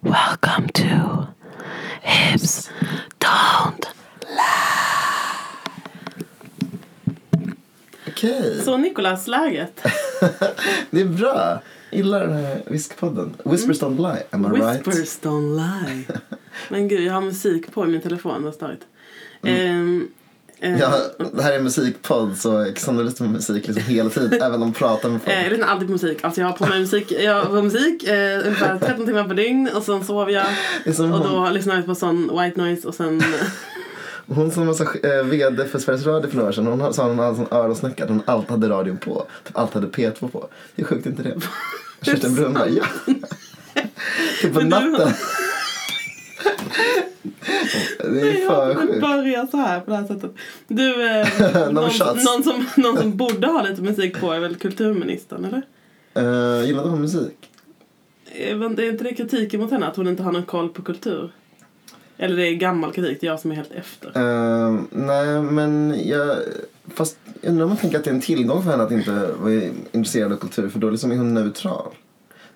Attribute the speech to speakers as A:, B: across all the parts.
A: Welcome to Hips Don't.
B: Okej,
C: Så Nikolas, läget?
B: det är bra. Gillar den här whiskypodden. Whispers don't lie, am I
C: Whispers
B: right?
C: don't lie. Men gud, jag har musik på i min telefon. Vad störigt. Ehm, ehm,
B: Mm. Ja, det här är en musikpodd så Alexander lyssnar på musik liksom hela tiden även om de pratar med
C: eh, jag
B: folk.
C: lyssnar alltid på musik. Alltså jag har på mig musik, jag har på musik eh, ungefär 13 timmar per dygn och sen sover jag.
B: Det är som
C: Och
B: hon,
C: då lyssnar jag på sån white noise och sen...
B: hon som var så, eh, vd för Sveriges Radio för några år sedan hon har- sa hon hade en sån öronsnäcka att hon alltid hade radion på. Typ alltid hade P2 på. Hur sjukt är inte det? Kerstin Brunn bara, ja. Typ på
C: Men du-
B: natten. Det är ju för
C: jag kommer
B: sjukt.
C: börja så här på det här sättet. Du, eh,
B: No
C: någon,
B: shots.
C: någon, som, någon som borde ha lite musik på är väl kulturministern, eller?
B: Eh, Gillade hon musik?
C: Eh, men Är inte det kritiken mot henne? Att hon inte har någon koll på kultur? Eller det är gammal kritik, det är jag som är helt efter.
B: Eh, nej, men jag... Fast jag undrar om man tänker att det är en tillgång för henne att inte vara intresserad av kultur för då liksom är hon neutral.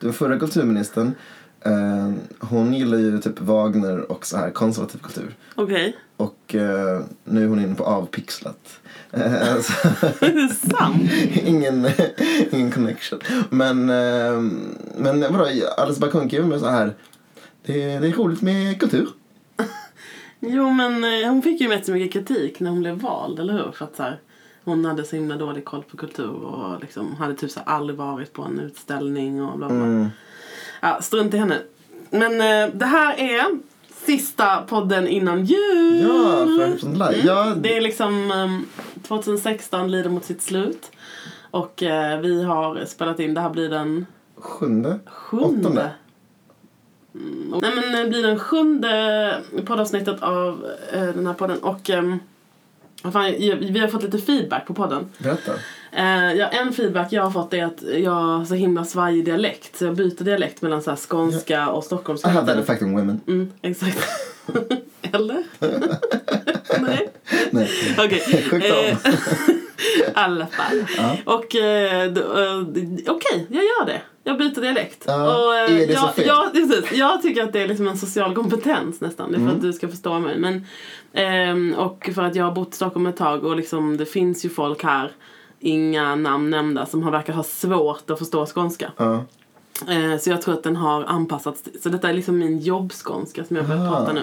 B: Den förra kulturministern, eh, hon gillar ju typ Wagner och så här konservativ kultur.
C: Okej,
B: Och eh, nu är hon inne på avpixlat. Eh, så,
C: det är sant.
B: ingen, ingen connection. Men, eh, men vadå, Alice Bah Kuhnke är väl mer så här... Det är, det är roligt med kultur.
C: Jo men eh, hon fick ju med så mycket kritik när hon blev vald, eller hur? För att så här, hon hade så himla dålig koll på kultur och liksom hade typ så här aldrig varit på en utställning och bla bla.
B: Mm.
C: Ja, strunt i henne. Men eh, det här är sista podden innan jul!
B: Ja, för sånt live. Ja,
C: Det är liksom ehm, 2016 lider mot sitt slut. Och eh, vi har spelat in, det här blir den
B: Sjunde?
C: sjunde. Mm, och- Nej men det blir den sjunde poddavsnittet av eh, den här podden och ehm, vad fan, jag- vi har fått lite feedback på podden.
B: Berätta.
C: Eh, ja, en feedback jag har fått är att jag har så himla svajig dialekt. Så jag byter dialekt mellan så här skånska och stockholmska.
B: I have that effect on women.
C: Mm, exakt. Eller? Nej.
B: Nej.
C: Okej.
B: Sjukt
C: Eh,
B: om.
C: I alla fall. Och eh, d- eh, d- okej, jag gör det. Jag byter dialekt.
B: Ja,
C: och, eh,
B: är det så
C: jag,
B: fel?
C: jag, precis, jag tycker att det är liksom en social kompetens nästan. Det är för
B: Mm.
C: att du ska förstå mig. Men, ehm, och för att jag har bott i Stockholm ett tag och liksom, det finns ju folk här, inga namn nämnda, som har, verkar ha svårt att förstå skånska.
B: Ja.
C: Eh, Så jag tror att den har anpassats. till- Så detta är liksom min jobbskånska som jag börjar
B: Ah.
C: prata nu.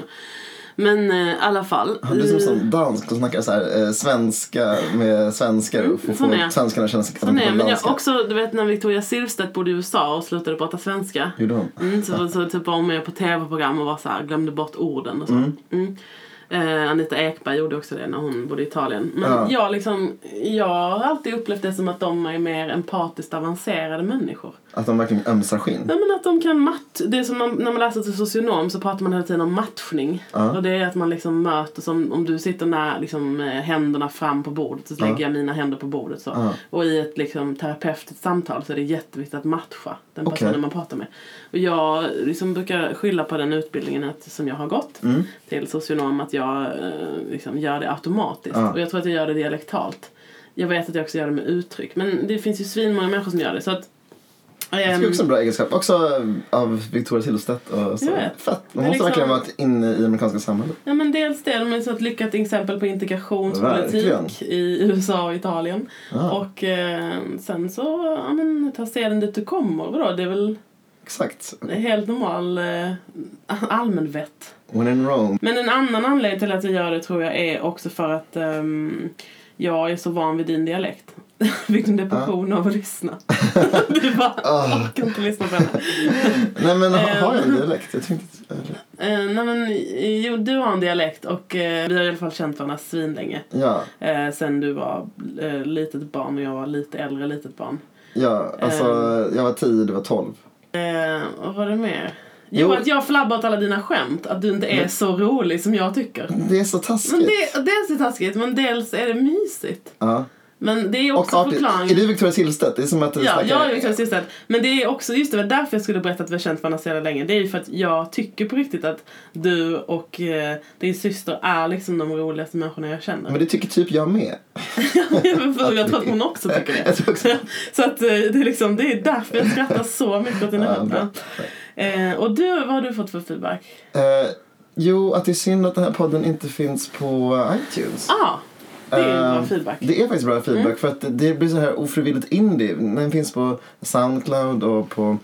C: Men eh, i alla fall.
B: Han blir som
C: eh,
B: sån dansk som snackar så här, eh, svenska med svenskar och får
C: sån är
B: få
C: jag.
B: svenskarna att känna sig att
C: Sån
B: de
C: är jag.
B: pratar
C: Men jag
B: danska.
C: också, du vet när Victoria Silvstedt bodde i USA och slutade prata svenska.
B: Gjorde hon?
C: Mm, så, så typ var hon med på tv-program och var så här, glömde bort orden och så. Mm. Eh, Anita Ekberg gjorde också det när hon bodde i Italien. Men
B: Ja.
C: jag, liksom, jag har alltid upplevt det som att de är mer empatiskt avancerade människor.
B: Att de verkligen ömsar skinn.
C: Nej men att de kan match. Det är som man, när man läser till socionom så pratar man hela tiden om matchning. Och det är att man liksom möter, som om du sitter när liksom, eh, händerna fram på bordet så lägger jag mina händer på bordet så.
B: Ja.
C: Och i ett liksom, terapeutiskt samtal så är det jätteviktigt att matcha den
B: Okej.
C: personen man pratar med. Och jag liksom, brukar skylla på den utbildningen att, som jag har gått
B: Mm.
C: till socionom att jag eh, liksom, gör det automatiskt.
B: Ja.
C: Och jag tror att jag gör det dialektalt. Jag vet att jag också gör det med uttryck. Men det finns ju svinmånga människor som gör det. Så att,
B: Det är
C: ehm,
B: också en bra egenskap. Också av Victoria Silvstedt och så.
C: Jag vet.
B: Fett.
C: Det
B: Hon
C: är
B: måste
C: liksom-
B: verkligen varit inne i det amerikanska samhället.
C: Ja, men dels det, men så ett lyckat exempel på integrationspolitik
B: Verkligen.
C: i USA och Italien.
B: Ja.
C: Och eh, sen så, ja men ta seden dit du kommer. Vadå? Det är väl
B: Exakt.
C: helt normal eh, allmänvett.
B: When in Rome.
C: Men en annan anledning till att jag gör det tror jag är också för att ehm, jag är så van vid din dialekt. Fick en depression av att lyssna. du bara,
B: Ah.
C: orkar inte lyssna på henne.
B: Nej men har- har jag en
C: Ehm.
B: dialekt? Jag tänkte... eh,
C: Eh, nej men, jo, du har en dialekt och eh, vi har i alla fall känt varandra svinlänge.
B: Ja.
C: Eh, sen du var eh, litet barn och jag var lite äldre litet barn.
B: Ja. Alltså jag var tio, du var tolv.
C: Eh, och vad är det mer? Jo,
B: Jo.
C: att jag flabbar åt alla dina skämt. Att du inte är så rolig som jag tycker.
B: Det är så taskigt.
C: Men det, dels är det taskigt, men dels är det mysigt.
B: Ja.
C: Men det är
B: Och
C: också
B: artigt.
C: förklaring.
B: Är du Victoria Silvstedt? Det är som att du
C: Ja,
B: snackar...
C: jag är liksom sist där. Men det är också, just det var därför jag skulle berätta att vi har känt varandra så jävla länge. Det är ju för att jag tycker på riktigt att du och eh, din syster är liksom de roligaste människorna jag känner.
B: Men det tycker typ jag med.
C: För jag tror att hon också tycker det.
B: Jag tror också
C: Så att eh, det är, liksom, det är därför jag skrattar så mycket åt dina
B: Ja,
C: skämt.
B: bra.
C: Ja. Eh, och du, vad har du fått för feedback?
B: Eh, jo, att det är synd att den här podden inte finns på iTunes.
C: Ah, det är ju bra
B: Eh,
C: feedback. Mm.
B: Det är faktiskt bra feedback för att det blir så här ofrivilligt indie. Den finns på Soundcloud och på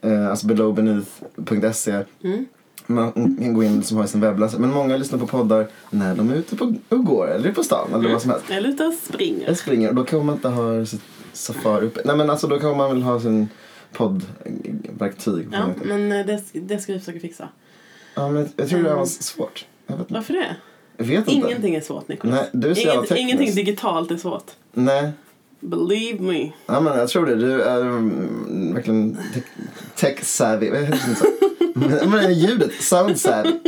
B: eh, alltså belowbeneath.se.
C: Mm.
B: Man kan gå in som har sin webbläsare. Men många lyssnar på poddar när de är ute på, och går eller på stan eller vad som helst.
C: Jag är lite och springer.
B: Jag springer och då kan man inte ha sitt safari uppe. Nej men alltså då kan man väl ha sin poddverktyg.
C: Ja, men eh, det, det ska vi försöka fixa.
B: ja, men jag tror det här var
C: Mm.
B: svårt. Jag vet, inte.
C: Varför det?
B: jag vet inte.
C: Ingenting är svårt, Nicolas.
B: Nej, du är så jävla
C: Inget,
B: teknisk.
C: ingenting digitalt är svårt.
B: Nej.
C: Believe me.
B: Ja, men jag tror det. Du är mm, verkligen te- tech-savvy. Vad heter det? så? Men- Men ljudet, sound-savvy.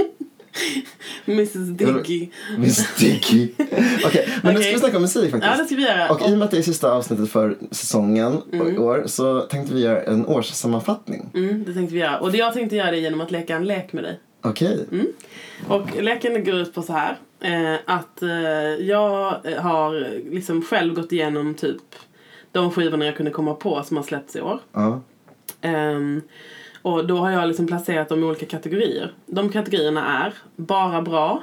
C: Mrs Diggy.
B: Visst, Okej, men nu ska
C: Okej.
B: vi snacka om musik faktiskt.
C: Ja, det ska vi Mm. göra.
B: Och i och med att det är sista avsnittet för säsongen i år så tänkte vi göra en årssammanfattning.
C: Mm, det tänkte vi göra. Och det- jag tänkte göra det genom att leka en lek med dig.
B: Okej.
C: Mm. Och leken går ut på så här. Eh, att eh, jag har liksom själv gått igenom typ de skivorna jag kunde komma på som har släppts i år.
B: Ja.
C: Ehm, och då har jag liksom placerat dem i olika kategorier. De kategorierna är bara bra,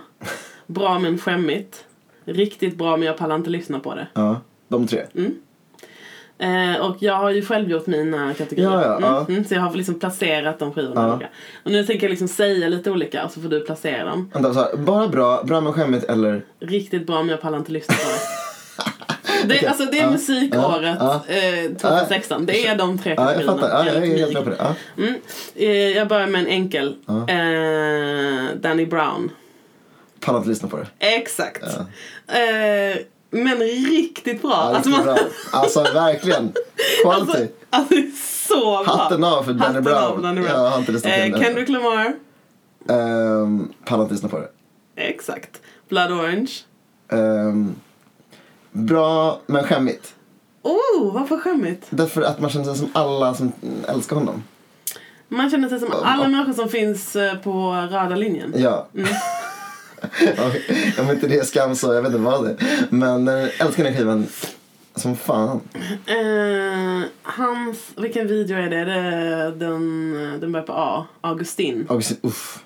C: bra men skämmigt, riktigt bra men jag pallar inte lyssna på det.
B: ja. De tre.
C: Eh, och jag har ju själv gjort mina kategorier.
B: Ja, ja,
C: mm,
B: ja.
C: Mm, så jag har liksom placerat de skivorna
B: Ja.
C: olika. Och nu tänker jag liksom säga lite olika och så får du placera dem.
B: Vänta, så här, bara bra, bra men skämmigt eller...
C: Riktigt bra men jag pallar inte lyssna på det. Det,
B: Okej,
C: Alltså det är
B: ja,
C: musikåret
B: ja,
C: eh, 2016. Det är de tre
B: Ja, jag
C: kategorierna.
B: fattar. Ja, jag är helt
C: Teknik.
B: med på det. Ja.
C: Mm. Eh, jag börjar med en enkel.
B: Ja.
C: Eh, Danny Brown.
B: Pallar inte lyssna på det.
C: Exakt. Eh, men riktigt bra.
B: Ja,
C: alltså,
B: riktigt bra. alltså verkligen. Quality.
C: alltså, alltså det är så bra.
B: Hatten av för Danny
C: Hatten
B: Brown.
C: av Danny Brown.
B: Jag har inte lyssnat till
C: eh,
B: den.
C: Kendrick Lamar.
B: Ehm, pallar inte lyssna på det.
C: Exakt. Blood Orange.
B: Ehm, bra, men skämmigt.
C: Oh, vad för skämmigt.
B: Därför att man känner sig som alla som älskar honom.
C: Man känner sig som alla människor som finns eh, på röda linjen.
B: Ja.
C: Mm.
B: Okej, Om inte det är skam så jag vet inte vad det är. Men eh, älskar den skivan som fan.
C: Eh, hans, vilken video är det? det är den, den börjar på A. Augustin.
B: August, uff.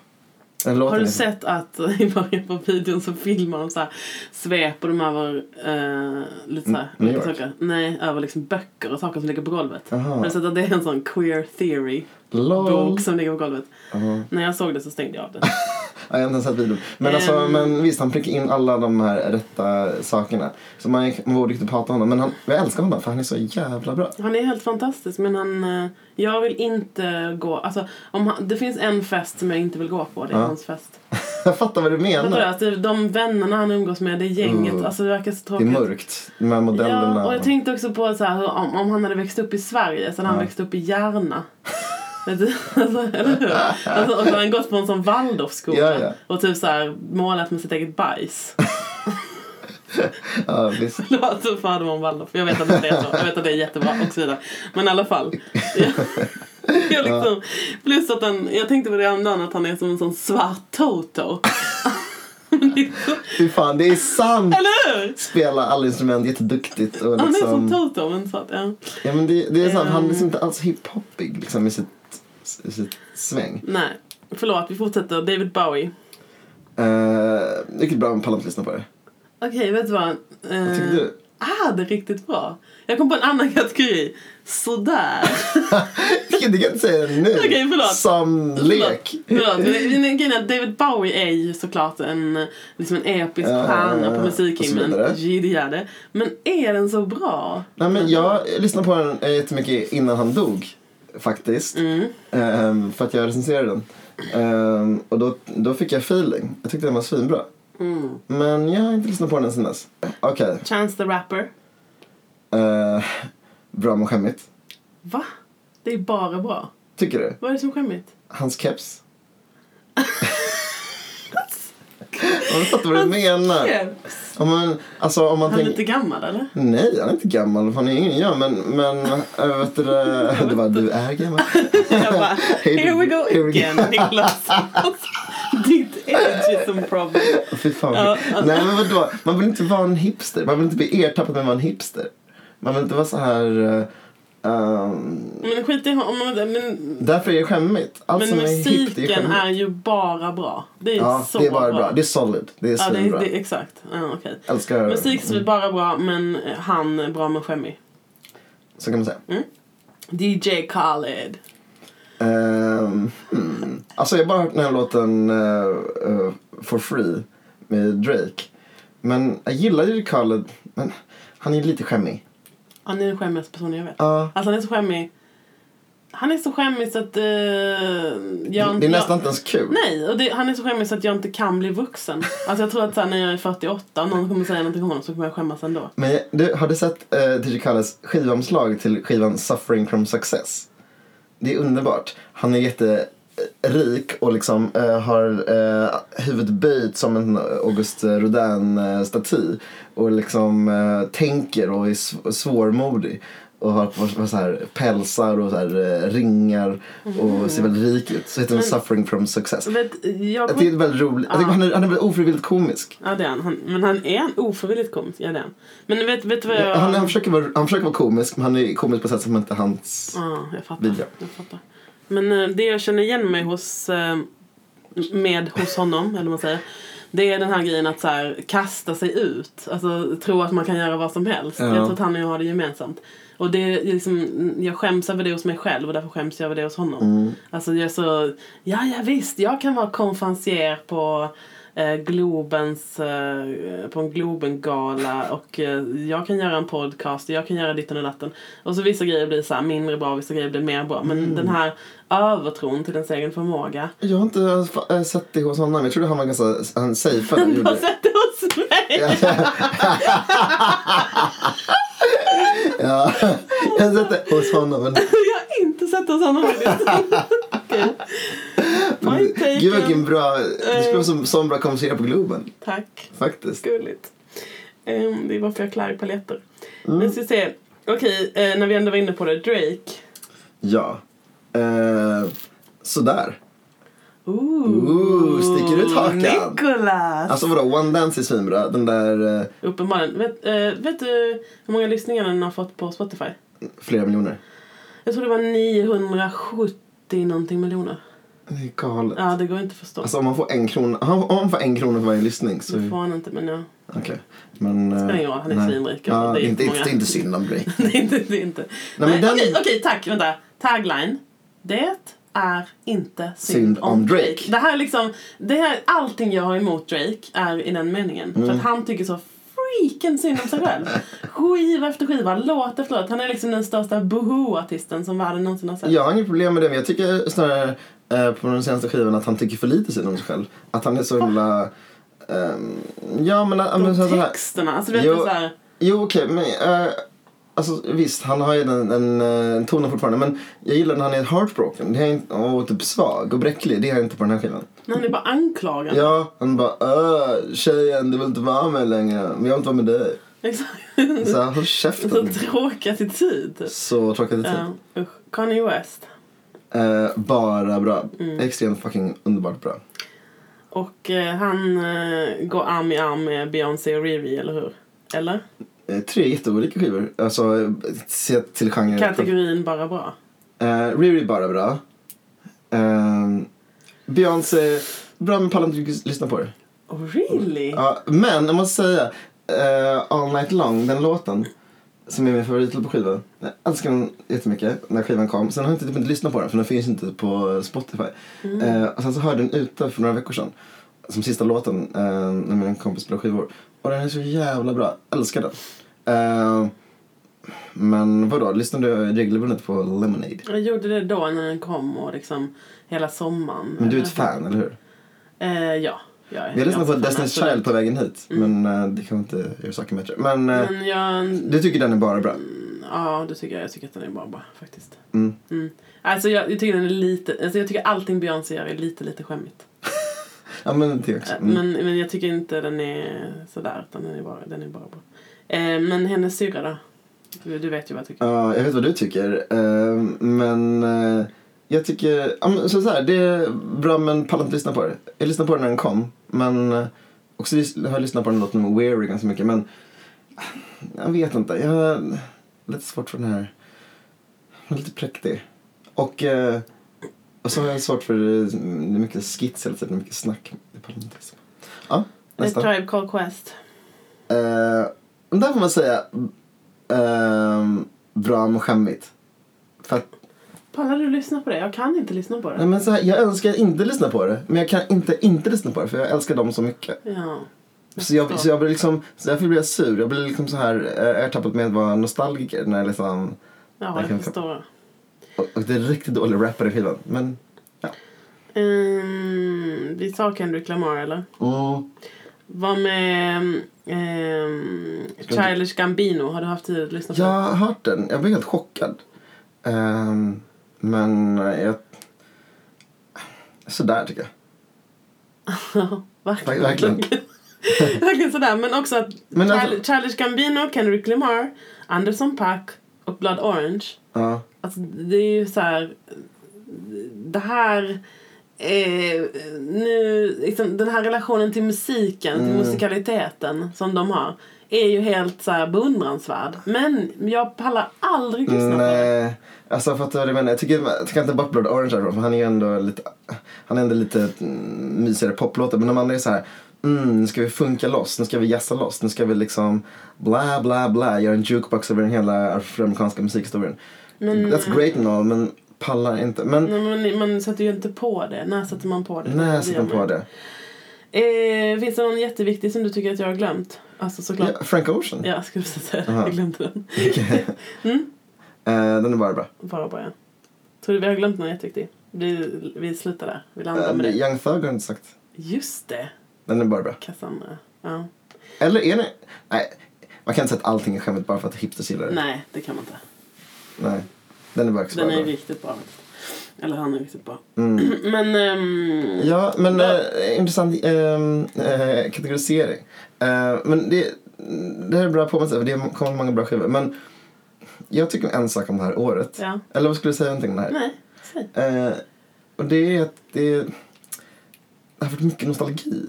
B: Den låten
C: Har du
B: är-
C: sett att i början på videon så filmar de så här, sveper de över eh, lite så här,
B: Mm, New
C: olika
B: York.
C: saker? Nej, över liksom böcker och saker som ligger på golvet.
B: Aha.
C: Har du sett att det är en sån queer theory
B: LOL.
C: bok som ligger på golvet?
B: Aha.
C: När jag såg det så stängde jag av den.
B: Ja, jag har inte ens sett videon. Men, alltså,
C: Ehm.
B: men visst, han prickar in alla de här rätta sakerna. Så man, man borde inte prata om honom. Men han, jag älskar honom för han är så jävla bra.
C: Han är helt fantastisk men han, eh, jag vill inte gå, alltså om han, det finns en fest som jag inte vill gå på, det är
B: Ja.
C: hans fest.
B: Jag fattar vad du
C: Fattar du?
B: menar.
C: Alltså, de vännerna han umgås med, det gänget,
B: Mm.
C: alltså det verkar så
B: Det är
C: tråkigt.
B: mörkt. De här modellerna.
C: Ja, och jag tänkte också på så här, hur- om, om han hade växt upp i Sverige så hade han
B: Ja.
C: växt upp i Järna. Vet du? alltså, eller hur? Alltså, och så hade han gått på en sån Waldorfskola
B: Ja, ja.
C: och typ så här, målat med sitt eget bajs.
B: ja, visst.
C: Förlåt för fördom om Waldorf. Jag vet att det är så. Jag vet att det är jättebra och så vidare. Men i alla fall. Jag, jag liksom, plus att han, jag tänkte på det häromdagen att han är som en sån svart Toto. Liksom,
B: Fy fan, det är sant!
C: eller hur?
B: Spelar alla instrument jätteduktigt. Och
C: Han är som
B: liksom,
C: Toto men svart. Ja.
B: ja, men det, det är sant, han är
C: Ehm.
B: liksom inte alls hiphopig liksom, i sitt, i sitt sväng.
C: Nej, förlåt vi fortsätter. David Bowie.
B: Uh, vilket bra, man pallar inte lyssna på det.
C: Okej, vet du vad? Eh,
B: Vad tycker du?
C: Ah, det är riktigt bra. Jag kom på en annan kategori. Sådär.
B: Du kan inte säga det nu!
C: Okej, förlåt.
B: Som lek!
C: Förlåt, förlåt. Men- men grejen är att David Bowie är ju såklart en, liksom en episk
B: Ja,
C: stjärna
B: ja,
C: på
B: ja. Och så
C: musikhimlen.
B: vidare.
C: Gideade. Men är den så bra?
B: Nej, men jag lyssnade på den eh, jättemycket innan han dog, faktiskt.
C: Mm.
B: Ehm, för att jag recenserade den. Ehm, och då, då fick jag feeling. Jag tyckte den var svinbra.
C: Mm.
B: Men jag har inte lyssnat på den sen dess. Okej.
C: Chance the Rapper.
B: eh, bra men skämmigt.
C: Va? Det är bara bra.
B: Tycker du?
C: Vad är det som är skämmigt?
B: Hans keps. Om du fattar vad du menar.
C: Keps.
B: Om man, alltså om man
C: Han är
B: tänker...
C: lite gammal eller?
B: Nej, han är inte gammal. Han är yngre än jag. Men, men äh, vet du, det det var du är gammal.
C: Jag bara, here we
B: Here
C: go
B: we go.
C: again Niklas. Alltså, Ditt ageism problem.
B: Fy fan.
C: Ja, alltså.
B: Nej, men vadå? Man vill inte vara en hipster. Man vill inte bli ertappad med att vara en hipster. Man vill inte vara så här... eh, Ehm,
C: Men skit i honom. Men,
B: därför är det skämmigt. Allt
C: men
B: som är hippt är
C: musiken
B: skämmigt.
C: är ju bara bra. Det är
B: Ja,
C: så
B: det är bara bra. Det är solid. Det är
C: ja, det,
B: svinbra.
C: det, exakt. Ja, okej.
B: Älskar... mm,
C: Musik som är bara bra, men eh, han är bra men skämmig.
B: Så kan man säga.
C: DJ Khaled.
B: Ehm, hmm. Alltså jag har bara hört den här låten eh, eh, For Free med Drake. Men jag gillar ju Khaled, men han är lite skämmig.
C: Han är den skämmigaste personen jag vet.
B: Ja.
C: Alltså han är så skämmig. Han är så skämmig så att... eh, jag,
B: det är nästan
C: jag,
B: inte ens kul.
C: Nej, och det, han är så skämmig så att jag inte kan bli vuxen. Alltså jag tror att så här, när jag är 48 och någon kommer säga någonting om honom så kommer jag skämmas ändå.
B: Men jag- du, har du sett uh, DJ Khaleds skivomslag till skivan Suffering from Success? Det är underbart. Han är jätterik och liksom eh, har eh, huvudet böjt som en August Rodin-staty. Och liksom eh, tänker och är sv- svårmodig. Och har på- på så här pälsar och så här, eh, ringar och ser väldigt rik ut. Så heter den Suffering from Success.
C: Vet, jag
B: Det är väldigt roligt. Jag tycker han är, han är väldigt ofrivilligt komisk.
C: Ja, det är han. han. Men han är en ofrivilligt komisk. Ja, det är han. Men vet, vet du vad jag...
B: Han, han, försöker vara, han försöker vara komisk men han är komisk på ett sätt som inte hans
C: Ja, jag fattar.
B: Vidja.
C: Jag fattar. Men eh, det jag känner igen mig hos, eh, med hos honom, eller vad man säger, det är den här grejen att så här, kasta sig ut. Alltså tro att man kan göra vad som helst.
B: Ja.
C: Jag tror att han och jag har det gemensamt. Och det är liksom, jag skäms över det hos mig själv och därför skäms jag över det hos honom. Alltså jag är så, ja, ja visst, jag kan vara konferencier på eh, Globens, eh, på en Globengala och eh, jag kan göra en podcast och jag kan göra ditten och datten. Och så vissa grejer blir så här mindre bra och vissa grejer blir mer bra. Men den här övertron till ens egen förmåga.
B: Jag har inte äh, sett det hos honom. Jag trodde han var ganska han safe.
C: Du har sett det hos mig!
B: Ja. Jag har sett det hos honom. Men...
C: Jag har inte sett det hos honom faktiskt. Okej. Point taken.
B: Gud vilken bra, det skulle vara
C: Eh.
B: som, som bra konversera på Globen.
C: Tack.
B: Faktiskt.
C: Gulligt. Ehm, det är varför jag klär i paletter.
B: Mm.
C: Nu ska vi se. Okej, eh, när vi ändå var inne på det. Drake.
B: Ja. Eh, sådär.
C: Ooh,
B: Ooh, sticker ut hakan.
C: Nicholas!
B: Alltså vadå, One Dance är svinbra. Den där eh,
C: Uppenbarligen. Vet, eh, vet du hur många lyssningar den har fått på Spotify?
B: flera miljoner.
C: Jag tror det var 970 någonting miljoner.
B: Det är galet.
C: Ja, det går inte att förstå.
B: Alltså om man får en krona, om om man får en krona för varje lyssning så...
C: det får han inte, men ja.
B: Okej. Men... eh,
C: Mm. Spelar ingen roll, han är
B: nej.
C: svinrik.
B: Ja,
C: Det
B: det
C: är
B: är inte,
C: många.
B: det är inte synd om Drake.
C: det är inte... Det är inte.
B: men
C: Nej,
B: den-
C: Okej, okej, tack. Vänta. Tagline. Det är inte synd,
B: Synd
C: om,
B: om
C: Drake.
B: Drake.
C: Det här är liksom... Det här, allting jag har emot Drake är i den meningen.
B: Mm.
C: För att han tycker så freaking synd om sig själv. skiva efter skiva, låt efter låt. Han är liksom den största boho-artisten som världen någonsin har sett.
B: Jag har inget problem med det, men jag tycker snarare eh, på den senaste skivan att han tycker för lite synd om sig själv. Att han är så himla... ehm, ja, men... eh, men så
C: De
B: här,
C: texterna, alltså du vet
B: Jo.
C: det är så här...
B: jo, okej, men... eh, alltså, visst, han har ju den, den eh, tonen fortfarande, men jag gillar när han är heartbroken det är inte, och typ svag och bräcklig. Det är han inte på den här skivan.
C: När han är bara anklagad.
B: Ja, han bara öh, tjejen, du vill inte vara med längre, men jag vill inte vara med dig.
C: Exakt.
B: Så här,
C: Liksom.
B: håll
C: Så
B: käften.
C: tråkig attityd.
B: Så tråkigt det
C: Ja, usch. Kanye West.
B: Eh, bara bra. Extremt fucking underbart bra.
C: Och eh, han eh, går arm i arm med Beyoncé och Riri, eller hur? Eller?
B: Eh, Tre jätteolika skivor. Alltså, eh, sett till genren.
C: Kategorin bara bra.
B: Eh, Riri bara bra. Eh, Beyoncé, bra men pallar inte riktigt lyssna på det.
C: Oh, really?
B: Ja, men jag måste säga, eh, All Night Long, den låten. Som är min favoritlåt på skivan. Jag älskar den jättemycket när skivan kom. Sen har jag inte, typ inte lyssnat på den för den finns inte på Spotify.
C: Mm.
B: Eh, och sen så hörde jag den ute för några veckor sedan. Som sista låten eh, när min kompis spelade skivor. Och den är så jävla bra. Älskar den. Eh, men vadå, lyssnar du regelbundet på Lemonade?
C: Jag gjorde det då när den kom och liksom hela sommaren.
B: Men du är ett fan, eller hur?
C: Eh, ja. Jag,
B: Jag lyssnade på
C: jag är fan,
B: Destiny's
C: absolut. Mm.
B: Child på vägen hit. Men eh, det kan inte göra saken bättre. Men, eh,
C: Men jag... Mm,
B: du tycker den är bara bra?
C: Ja, det tycker jag. Jag tycker att den är bara bra faktiskt.
B: Mm.
C: Alltså jag, jag tycker den är lite... Alltså jag tycker allting Beyoncé gör är lite, lite skämmigt.
B: Ja, men det också.
C: Eh,
B: Mm.
C: Men, men jag tycker inte den är sådär, utan den är bara, den är bara bra. Eh, men hennes syrra då? Du, du vet ju vad jag tycker.
B: Ja, jag vet vad du tycker. Eh, men eh, jag tycker... ja, men så så här, det är bra, men pallar inte lyssna på det. Jag lyssnade på den när den kom. Men eh, också lys- har jag lyssnat på den låten med Weary ganska mycket. Men eh, jag vet inte. Jag har lite svårt för den här Hon är lite präktig. Och, eh, och så har jag svårt för eh, det är mycket skits hela tiden, mycket snack. Det pallar inte liksom. Ja,
C: The
B: nästa.
C: Tribe Called Quest.
B: Eh, men där får man säga ehm, bra men skämmigt. För att,
C: Pallar du lyssna på det? Jag kan inte lyssna på
B: nej,
C: det.
B: men så här, jag önskar inte lyssna på det, men jag kan inte inte lyssna på det för jag älskar dem så mycket.
C: Ja.
B: Så jag,
C: förstår.
B: så jag blir liksom, så därför blir jag sur. Jag blir liksom så här, eh, jag har tappat med att vara nostalgiker när jag liksom,
C: Ja,
B: jag
C: jag
B: kan-
C: förstår.
B: och, och det är riktigt dålig rappare i skivan. Men, ja.
C: Um, vi sa Kendrick Lamar, eller?
B: Mm.
C: Var med um, Childish Gambino. Har du haft tid att lyssna på
B: Jag har hört den, jag blev helt chockad. Ehm, men eh, jag... Sådär tycker jag.
C: det? Verkligen.
B: Verkligen.
C: Verkligen sådär. Men också att
B: Men alltså-
C: Chil- Childish Gambino, Kendrick Lamar, Anderson Paak och Blood Orange.
B: Ja.
C: Alltså, det är ju så här... Det här... Eh, nu, liksom, den här relationen till musiken,
B: Mm.
C: till musikaliteten som de har är ju helt så här beundransvärd. Men jag pallar aldrig lyssna på det.
B: Nej, alltså jag fattar vad du menar. Jag tycker, jag tycker inte bara Blood Orange är bra, för han är ju ändå lite, han är ändå lite mm, mysigare poplåtar. Men de andra är så här, mm, nu ska vi funka loss, nu ska vi jazza loss, nu ska vi liksom bla bla bla, göra en jukebox över den hela afroamerikanska musikhistorien. That's great and all, men pallar inte. Men
C: Nej, men ni- man sätter ju inte på det. När sätter man på det?
B: när sätter man på det?
C: Eh, finns det någon jätteviktig som du tycker att jag har glömt? Alltså såklart.
B: Ja, Frank Ocean.
C: Ja, jag skulle precis säga det.
B: Aha.
C: Jag glömde den.
B: Okej. Eh, den är bara bra.
C: Bara börja. Tror du vi har glömt någon jätteviktig? Vi, vi slutar där. Vi landar
B: Eh,
C: med det.
B: Young Thug har jag inte sagt.
C: Just det.
B: Den är bara bra.
C: Cassandra.
B: Äh.
C: Ja.
B: Eller är det... Nej, man kan inte säga att allting är skämt bara för att hipsters gillar det.
C: Nej, det kan man inte.
B: Nej. Den är bara också
C: Den
B: bara
C: är
B: bra.
C: riktigt bra. Eller han är riktigt bra. Men... ehm,
B: Mm. Ja, men
C: Ja.
B: eh, intressant ehm, eh, kategorisering. Eh, men det, det här är bra påminnelse, för det kommer många bra skivor. Men jag tycker en sak om det här året.
C: Ja.
B: Eller vad skulle du säga någonting om det här?
C: Nej, säg.
B: Eh, och det är att det, det har varit mycket nostalgi.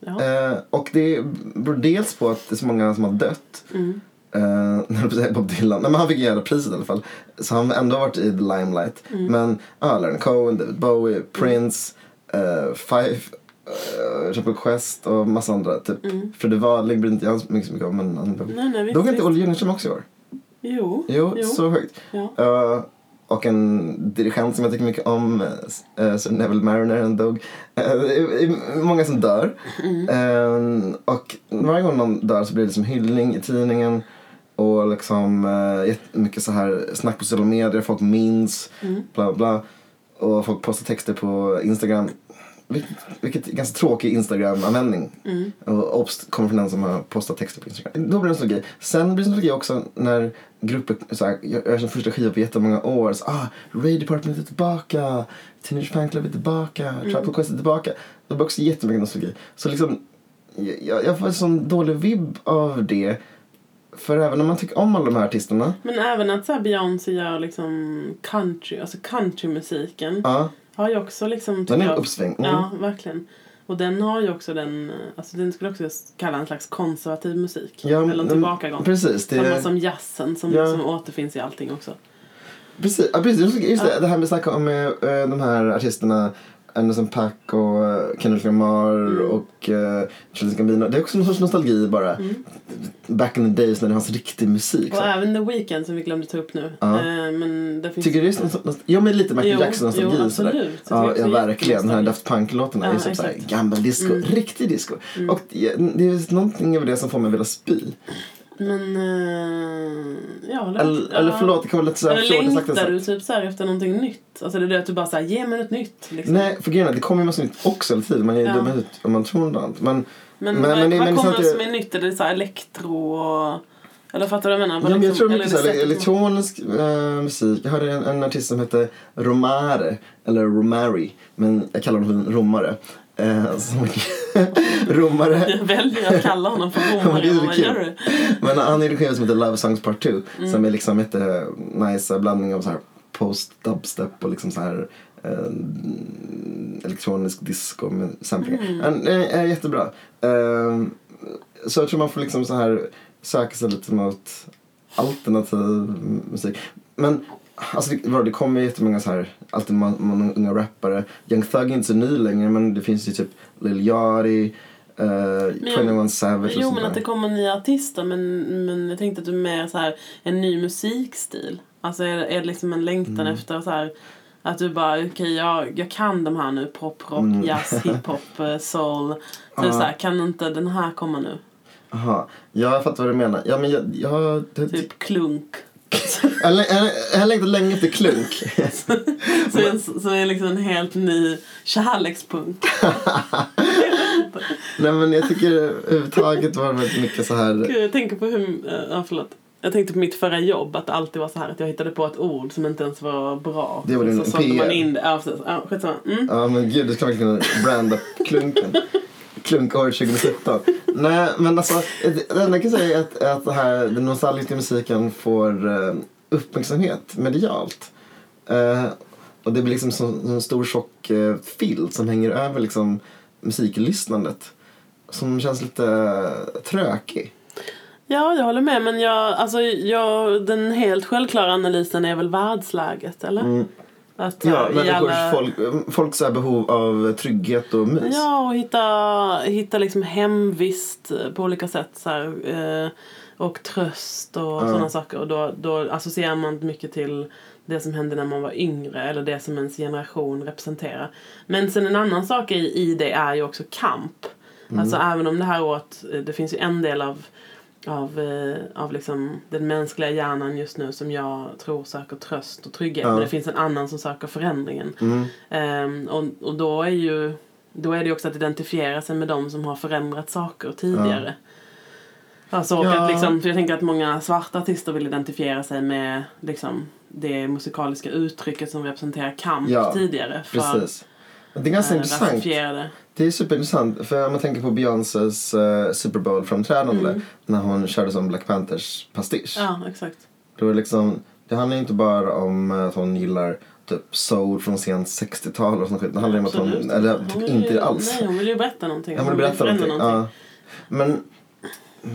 C: Ja.
B: Eh, och det beror dels på att det är så många som har dött.
C: Mm.
B: Eh, när jag säga Bob Dylan. Nej, men han fick ju hela priset i alla fall. Så han har ändå varit i the limelight. Men ja, Leonard Cohen, David Bowie, Prince, eh, Fife, eh, Triple Quest och massa andra. Typ. Fredde Wadling bryr inte jag så mycket så mycket om. Men han
C: mm. Nej, nej, visst,
B: Dog inte
C: visst.
B: Olle Gyllenström också i år?
C: Mm. Jo.
B: Jo, så högt.
C: Ja.
B: Eh, och en dirigent som jag tycker mycket om, eh, Sir Neville Mariner, han dog. Eh, det är många som dör. Eh, och varje gång någon dör så blir det liksom hyllning i tidningen. Och liksom eh, jättemycket så här snack på sociala medier, folk minns, bla bla. Och folk postar texter på Instagram. Vilket, vilket är ganska tråkig Instagram-användning. Och obst kommer från den som har postat texter på Instagram. Då blir det nostalgi. Sen blir det nostalgi också när grupper, så här, jag gör sin första skiva på jättemånga år. Så, ah, Ray Department är tillbaka, Teenage Fan Club är tillbaka,
C: Mm.
B: Triple Quest är tillbaka. Då blir det också jättemycket nostalgi. Så liksom, jag, jag får en sån dålig vibb av det. För även om man tycker om alla de här artisterna.
C: Men även att så här Beyoncé gör liksom country, alltså countrymusiken
B: Ja,
C: har ju också liksom...
B: den
C: tycker
B: är en
C: jag-
B: uppsving. Mm.
C: Ja, verkligen. Och den har ju också den, alltså den skulle jag också kalla en slags konservativ musik.
B: Ja,
C: Eller en
B: men-
C: tillbakagång.
B: Precis, det
C: Samma
B: är...
C: som jazzen som,
B: Ja.
C: som återfinns i allting också.
B: Precis, ja, precis. Just- just det, det här med att snacka om eh, eh, de här artisterna Anderson Paak och eh, Kendrick Lamar
C: Mm.
B: och eh, Childish Gambino. Det är också någon sorts nostalgi bara.
C: Mm.
B: Back in the days när det fanns riktig musik.
C: Och
B: så.
C: även The Weeknd som vi glömde ta upp nu.
B: Ja.
C: Eh, men det finns
B: Tycker du det är någon sorts nostalgi? Jo men lite Michael
C: Jo,
B: Jackson-nostalgi.
C: jo,
B: och sådär.
C: absolut. Jag
B: Ja,
C: tycker
B: ja
C: också
B: verkligen. Den här
C: jättenostalgi.
B: Daft Punk-låtarna är
C: Ja,
B: ju som såhär
C: exakt. Mm.
B: gammal disco. Riktig disco. Och det det är just någonting över det som får mig att vilja spy.
C: Men... eh, ja, eller,
B: Eller, eller förlåt, det kan vara lite såhär
C: Eller
B: försåtligt sagt.
C: längtar
B: alltså.
C: du typ så här efter någonting nytt? Alltså det är det att du bara säger ge mig något nytt. Liksom.
B: Nej, för grejen är att det kommer ju massa nytt också hela tiden. Man är ju
C: Ja.
B: dum i huvudet om man tror något annat. Men,
C: men
B: men-
C: vad,
B: men det-
C: vad
B: men det är
C: kommer
B: sant
C: som
B: att-
C: är nytt? Är det så här elektro och... Eller fattar du vad jag menar? Vad
B: Ja, men jag
C: liksom-
B: tror mycket
C: eller är
B: såhär,
C: det sättet man-
B: elektronisk eh, musik. Jag hörde en, en artist som hette Romare, eller Romari, men jag kallar honom för romare. Eh, som, romare.
C: Jag väljer att kalla honom för
B: Ja, men det är
C: romare.
B: så
C: Vad
B: kul.
C: gör du?
B: Men han är en skiva som heter Love Songs Part 2 som är liksom jätte nice blandning av så här post dubstep och liksom så här eh, elektronisk disco med samplingar. Mm. Den är, är jättebra. Eh, så jag tror man får liksom så här söka sig lite mot alternativ musik. Men Alltså det, vadå, det kommer ju jättemånga så här, alltid man, man, unga rappare. Young Thug är inte så ny längre men det finns ju typ Lil Yachty, eh, 21 Savage och
C: Jo,
B: sånt
C: men att det
B: där.
C: kommer nya artister. Men, men jag tänkte att du är mer så här, en ny musikstil. Alltså är, det- är det liksom en längtan
B: Mm.
C: efter så här, att du bara, okej jag, jag kan de här nu. Pop, rock,
B: Mm.
C: jazz, hiphop, eh, soul. Så det är så här, kan inte den här komma nu?
B: Aha. Ja, jag fattar vad du menar. Ja, men jag, jag, det,
C: Typ klunk.
B: jag, lä- jag, lä- jag längtar länge efter klunk.
C: Så är, så är det liksom en helt ny kärlekspunk.
B: Nej men jag tycker överhuvudtaget var det väldigt mycket så här.
C: Gud, jag tänker på hur... eh, Ja, förlåt. Jag tänkte på mitt förra jobb att det alltid var så här att jag hittade på ett ord som inte ens var bra.
B: Det var din
C: så sålde
B: PR.
C: man in det. Ja, precis. Ja, skitsamma. Mm.
B: Ja men gud, du ska verkligen kunna branda klunken. Klunka år 2017. Nej men alltså, det det enda jag kan säga är att, att det här, den nostalgiska musiken får eh, uppmärksamhet medialt. Eh, och det blir liksom som, som en stor tjock eh, filt som hänger över liksom musiklyssnandet. Som känns lite eh, trökig.
C: Ja, jag håller med. Men jag, alltså, jag, den helt självklara analysen är väl världsläget, eller?
B: Mm.
C: Att, eh, så
B: Ja,
C: här, i
B: människors,
C: alla-
B: folk, folks så här behov av trygghet och mys.
C: Ja, och hitta, hitta liksom hemvist på olika sätt. Så här, eh, och tröst och sådana saker. Och då, då associerar man mycket till det som hände när man var yngre eller det som ens generation representerar. Men sen en annan sak i, i det är ju också kamp. Alltså även om det här året, eh, det finns ju en del av av, eh, av liksom den mänskliga hjärnan just nu som jag tror söker tröst och trygghet. Men det finns en annan som söker förändringen. Ehm, och, och då är ju då är det ju också att identifiera sig med de som har förändrat saker tidigare. Alltså, och
B: Ja.
C: att liksom, för jag tänker att många svarta artister vill identifiera sig med liksom, det musikaliska uttrycket som representerar kamp
B: Ja,
C: tidigare. För,
B: Precis. Men Det är ganska
C: eh,
B: intressant.
C: rasifierade.
B: Det är superintressant. För om man tänker på Beyoncés eh, Super Bowl-framträdande när hon körde som Black Panthers pastisch.
C: Mm. Ja, exakt.
B: Då är det, liksom, det handlar ju inte bara om eh, att hon gillar typ soul från sent 60-tal och sånt skit. Det handlar ju om att hon,
C: Absolut.
B: eller
C: Hon
B: typ
C: vill ju,
B: inte alls.
C: Nej, hon vill ju berätta någonting.
B: Ja, men berätta någonting.
C: förändra
B: Ja. Men,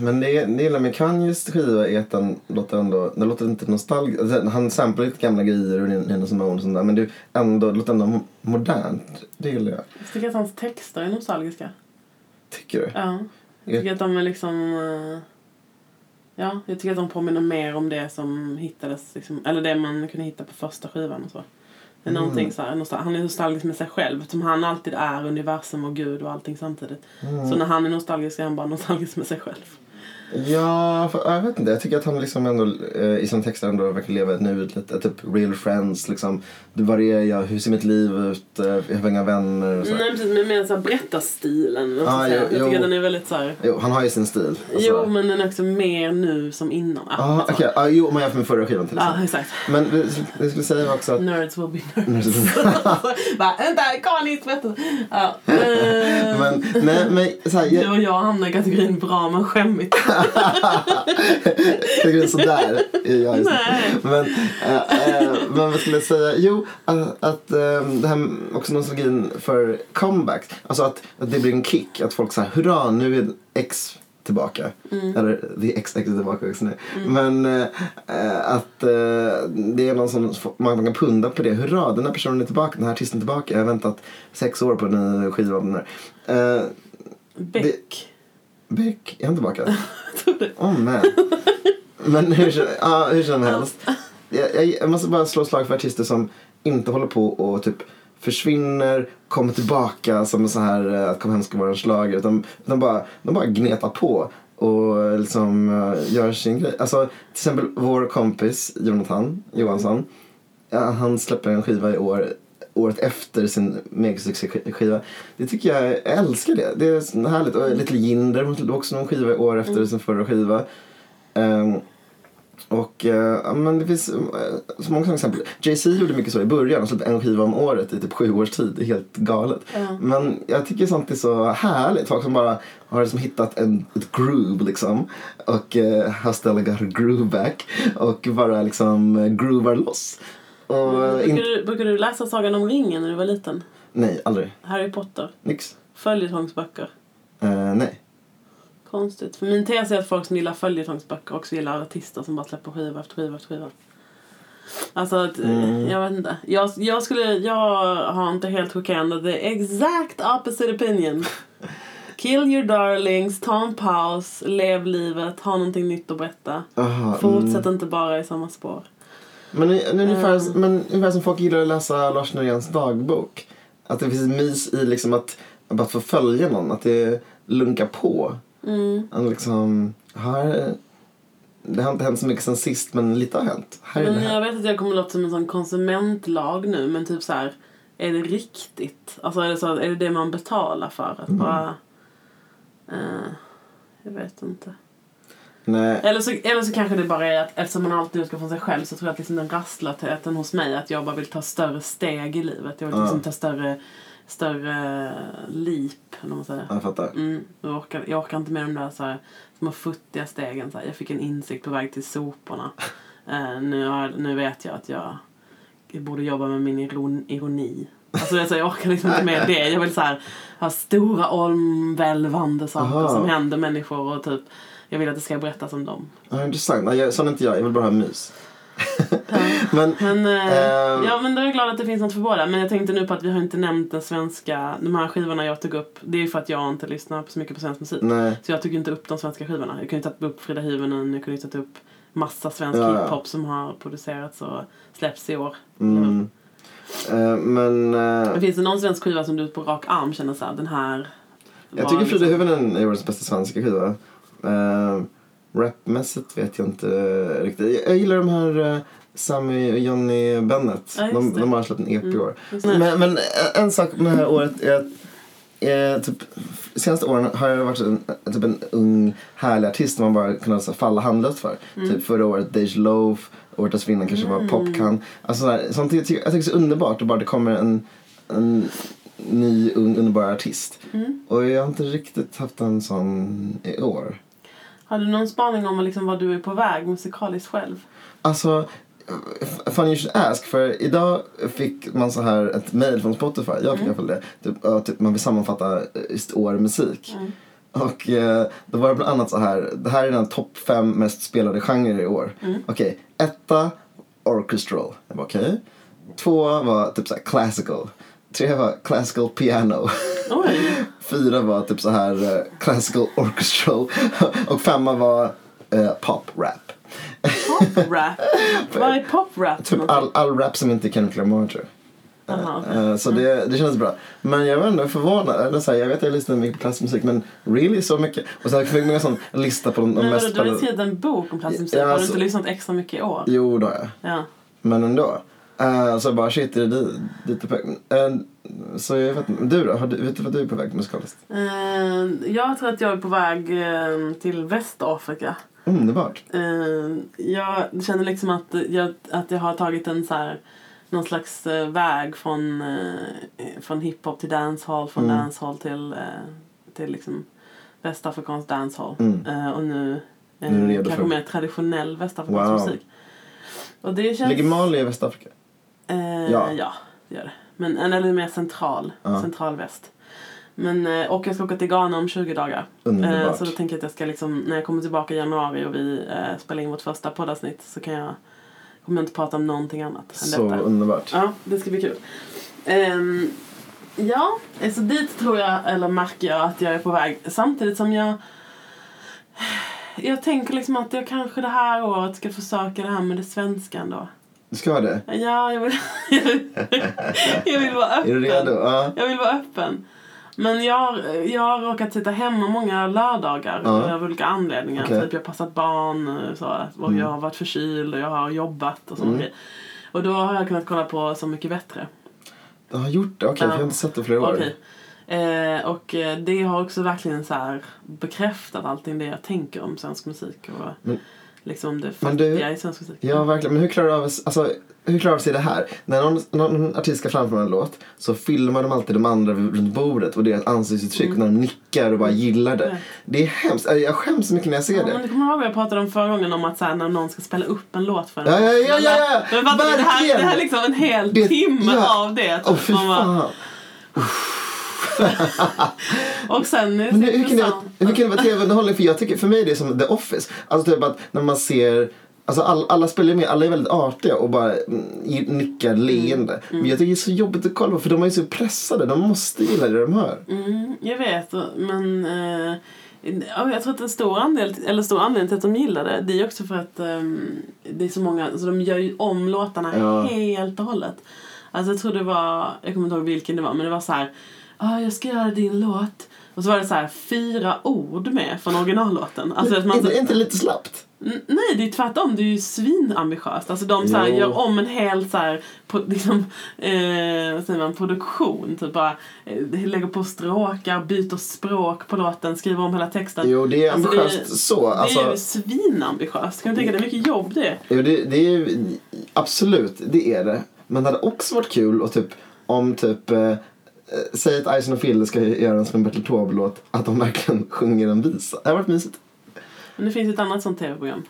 B: men det, det gillar med Kanyes skiva är att den låter ändå, den låter inte nostalgisk. Alltså, han samplar lite gamla grejer och Nina Simone och sånt där. Men det, är ändå, det låter ändå modernt. Det gillar jag.
C: Jag tycker att hans texter är nostalgiska.
B: Tycker du?
C: Ja. Jag tycker att de är liksom... eh, Ja, jag tycker att de påminner mer om det som hittades, liksom, eller det man kunde hitta på första skivan och så. Det
B: Mm.
C: är någonting så här, nostal- han är nostalgisk med sig själv, som han alltid är, universum och gud och allting samtidigt.
B: Mm.
C: Så när han är nostalgisk är han bara nostalgisk med sig själv.
B: Ja, för, jag vet inte. Jag tycker att han liksom ändå eh, i sina texter ändå verkar leva ett nu lite, typ real friends liksom. Du, var är jag? Hur ser mitt liv ut? Eh, Jag har inga vänner och så.
C: Nej precis, men mer såhär berättarstilen. vad ska
B: Ah,
C: jag säga.
B: jo,
C: jag tycker
B: jo.
C: att den är väldigt såhär...
B: Jo, han har ju sin stil. Alltså.
C: Jo, men den är också mer nu som innan. Ah,
B: Ah,
C: alltså.
B: okej. Ah, jo, om man jämför med förra skivan till exempel.
C: ah, exakt.
B: Men det, det skulle säga var också att...
C: Nerds will be nerds. Bara, vänta, Kanis berättar. Ja. eh,
B: Men, nej, men så här,
C: Du
B: jag
C: och jag hamnar i kategorin bra men skämmigt.
B: tycker det är sådär. är jag just nu.
C: Nej.
B: Men, eh, eh, men vad skulle jag säga? Jo, att, att eh, det här med också nostalgin för comebacks. Alltså att, att det blir en kick. Att folk säger hurra, nu är X tillbaka.
C: Mm.
B: Eller det är X, X är tillbaka också nu. Men eh, eh, att eh, det är någon som man, man kan punda på det. Hurra, den här personen är tillbaka, den här artisten är tillbaka. Jag har väntat sex år på en ny skiva av den här. Eh,
C: Beck.
B: Beck, är han tillbaka? Åh man. Men hur, som- ja, hur som helst. Jag, jag, jag måste bara slå slag för artister som inte håller på och typ försvinner, kommer tillbaka som en sån här eh, att kom hem ska vara en schlager. Utan, utan bara, de bara gnetar på och eh, liksom eh, gör sin grej. Alltså till exempel vår kompis Jonathan Johansson. Ja, han släpper en skiva i år, året efter sin megasuccéskiva. Det tycker jag, jag älskar det. Det är så härligt. Och Little Jinder hon släppte också någon skiva i år efter sin förra skiva. Ehm, och eh, ja, men det finns eh, så många sådana exempel. Jay-Z gjorde mycket så i början. Han släppte en skiva om året i typ sju års tid. Det är helt galet. Men jag tycker sånt är så härligt. Folk som bara har liksom hittat en, ett groove liksom. Och eh, har stället got a groove back. Och bara liksom eh, groovar loss. Och eh,
C: Brukar
B: in,
C: Mm, du, brukar du läsa Sagan om ringen när du var liten?
B: nej, aldrig.
C: Harry Potter?
B: Nix.
C: Följetongsböcker?
B: Eh, nej.
C: Konstigt. För min tes är att folk som gillar följetongsböcker också gillar artister som bara släpper skiva efter skiva efter skiva. Alltså, att, jag vet inte. Jag, jag, skulle, jag har inte helt chockerande the exact opposite opinion. Kill your darlings, ta en paus, lev livet, ha någonting nytt att berätta.
B: Aha, mm.
C: Fortsätt Eh. inte bara i samma spår.
B: Men det är ungefär, men ungefär som folk gillar att läsa Lars Noréns dagbok. Att det finns mys i liksom att, bara att få följa någon, att det lunkar på.
C: Mm.
B: Att liksom, här, det har inte hänt så mycket sen sist men lite har hänt. Här är det
C: Men jag
B: här.
C: vet att jag kommer låta som en sån konsumentlag nu men typ så här är det riktigt? Alltså är det, så, att- är det det man betalar för? Att
B: Mm.
C: bara... Eh, jag vet inte.
B: Nej.
C: Eller så, eller så kanske det bara är att eftersom man alltid utgår från sig själv så tror jag att liksom den rastlösheten hos mig att jag bara vill ta större steg i livet. Jag vill
B: Ja.
C: liksom ta större, större eh, leap, eller vad man säger.
B: Jag fattar.
C: Mm, jag, orkar, jag orkar inte med de där så här, små futtiga stegen. Så här. Jag fick en insikt på väg till soporna. Eh, nu, har, nu vet jag att jag, jag borde jobba med min iron, ironi. Alltså, det är så, jag orkar liksom inte med det. Jag vill så här, ha stora omvälvande saker
B: Aha.
C: som händer människor och typ jag vill att det ska berättas om dem.
B: Ja, intressant. Nej, jag, sån är inte jag. Jag vill bara ha mys. men,
C: Men, eh,
B: Ehm.
C: ja, men då är jag glad att det finns något för båda. Men jag tänkte nu på att vi har inte nämnt den svenska, de här skivorna jag tog upp. Det är ju för att jag inte lyssnar så mycket på svensk musik.
B: nej.
C: Så jag tog ju inte upp de svenska skivorna. Jag kunde ju ta upp Frida Hyvönen, jag kunde ju ta upp massa svensk
B: Ja, ja.
C: hiphop som har producerats och släpps i år.
B: Mm. Eh, men eh,
C: Men finns det någon svensk skiva som du på rak arm känner såhär, den här...
B: jag
C: var
B: tycker Frida
C: liksom-
B: Hyvönen är årets bästa svenska skiva. Uh, rapmässigt vet jag inte riktigt. Jag, jag gillar de här eh, Sammy och Johnny Bennett.
C: Ja, just
B: de,
C: det.
B: de har släppt en EP i år.
C: Just det.
B: Men, men en sak med det här året är att eh, typ, senaste åren har jag varit en, typ en ung härlig artist som man bara kunnat så, här, falla handlöst för. Typ förra året Dej Loaf, året dessförinnan kanske var Popcan. Alltså, så här, sånt, jag, tycker, jag tycker det är så underbart att bara det kommer en, en ny ung underbar artist.
C: Mm.
B: Och jag har inte riktigt haft en sån i år.
C: Har du någon spaning om liksom vad du är på väg musikaliskt själv?
B: Alltså, funny you should ask. För idag fick man så här ett mail från Spotify. Jag fick i alla fall det. Typ, ja, typ, man vill sammanfatta eh, sitt år i musik. Och eh, då var det bland annat så här. Det här är den topp fem mest spelade genrer i år. Okej, etta orchestral. Jag bara okej. Två var typ så här classical. Tre var classical piano.
C: Oj!
B: Fyra var typ så här eh, classical orchestral. Och femma var eh, pop rap.
C: Pop-rap! vad är pop-rap?
B: Typ all, all rap som inte är Kendrick Lamar tror jag.
C: Aha, okej. Mm.
B: Eh, Så det, det kändes bra. Men jag var ändå förvånad. Eller så här, jag vet att jag lyssnar mycket på klassmusik men really så mycket. Och sen fick jag en sån lista på de, de
C: Men vadå,
B: mest
C: du har ju
B: spelade-
C: skrivit en bok om klassisk musik.
B: Ja,
C: har du
B: alltså-
C: inte lyssnat extra mycket i år?
B: Jo då ja.
C: Ja.
B: Men ändå. Eh, så jag bara shit, är det dit, dit du är på väg? Eh, Så jag vet inte. Du då? Har du, vet du vad du är på väg musikaliskt?
C: Eh, jag tror att jag är på väg eh, till Västafrika.
B: Underbart.
C: Eh, jag känner liksom att jag, att jag har tagit en så här, någon slags eh, väg från, eh, från hiphop till dancehall, från
B: Mm.
C: dancehall till, eh, till liksom västafrikansk dancehall.
B: Mm.
C: Eh, och nu, eh,
B: Nu är du redo
C: kanske
B: för-
C: mer traditionell västafrikansk
B: Wow.
C: musik. Och det känns...
B: Ligger Mali i Västafrika?
C: Eh,
B: Ja.
C: ja. det gör det. Men, en- eller mer central,
B: Ja.
C: central väst. Men, eh, och jag ska åka till Ghana om 20 dagar.
B: Underbart.
C: Eh, Så då tänker jag att jag ska liksom, när jag kommer tillbaka i januari och vi eh, spelar in vårt första poddavsnitt så kan jag, kommer jag inte prata om någonting annat än
B: Så
C: detta.
B: underbart.
C: Ja, det ska bli kul. Ehm, ja, eh, så dit tror jag, eller märker jag att jag är på väg. Samtidigt som jag... Jag tänker liksom att jag kanske det här året ska försöka det här med det svenska ändå.
B: Du ska ha det?
C: Ja, jag vill, jag vill, jag vill vara öppen.
B: Är du redo? Ja.
C: Jag vill vara öppen. Men jag, har- jag har råkat sitta hemma många lördagar
B: Ja.
C: av olika anledningar.
B: Okej. Mm.
C: Typ jag har passat barn och, så, och jag har varit förkyld och jag har jobbat och sånt. Och då har jag kunnat kolla på Så mycket bättre.
B: Du har gjort det? Okej, för jag har
C: Ja.
B: inte sett det i flera år.
C: Okej. Eh, och eh, det har också verkligen så här bekräftat allting det jag tänker om svensk musik och
B: Men-
C: liksom det
B: Men du-
C: fattiga i svensk musik.
B: Ja, verkligen. Men hur klarar du av, alltså, hur klarar du sig det här? När någon, någon artist ska framföra en låt så filmar de alltid de andra vid- runt bordet och deras ansiktsuttryck när de nickar och bara gillar det.
C: Mm.
B: Det är hemskt. Äh, Jag skäms så mycket när jag ser
C: Ja,
B: det.
C: men du kommer ihåg vad jag pratade om förra gången om att så här, när någon ska spela upp en låt för en
B: Ja, ja, ja, ja, ja.
C: Men fattar du, det, här, det
B: Verkligen.
C: här är liksom en hel
B: Det-
C: timme
B: ja.
C: av det.
B: Åh,
C: typ.
B: fy
C: Man bara-
B: fan.
C: och sen är det typ
B: Men hur, hur, kan det,
C: intressant.
B: vara- hur kan det vara tv-underhållning? För, jag tycker, för mig är det som The Office. Alltså typ att när man ser Alltså alla, alla spelar ju med, alla är väldigt artiga och bara mm, i- nickar leende.
C: Mm.
B: Men jag tycker det är så jobbigt att kolla på för de är ju så pressade. De måste gilla det de hör.
C: Mm, jag vet, men eh, ja, jag tror att en stor, andel, eller stor anledning till att de gillar det det är också för att eh, det är så många, alltså de gör ju om låtarna
B: Ja.
C: helt och hållet. Alltså jag tror det var, jag kommer inte ihåg vilken det var, men det var så här, ah, jag ska göra din låt. Och så var det så här fyra ord med från originallåten. Alltså att man,
B: Inte, inte lite slappt?
C: N- Nej, det är tvärtom. Det är ju svinambitiöst. Alltså de så här,
B: Jo.
C: gör om en hel så här, på, liksom, eh, vad säger man, produktion. Typ bara, eh, lägger på stråkar, byter språk på låten, skriver om hela texten.
B: Jo, det är
C: Alltså,
B: ambitiöst
C: det är-
B: så. Alltså,
C: Det är ju svinambitiöst. Kan du tänka dig hur mycket jobb det är?
B: Jo, det, det är ju, absolut, det är det. Men det hade också varit kul och typ om typ eh, eh, Säg att Ison och Phil ska göra en Sven Bertil Taube-låt Att de verkligen sjunger en visa. Det hade varit mysigt.
C: Men det finns ju ett annat sånt tv-program.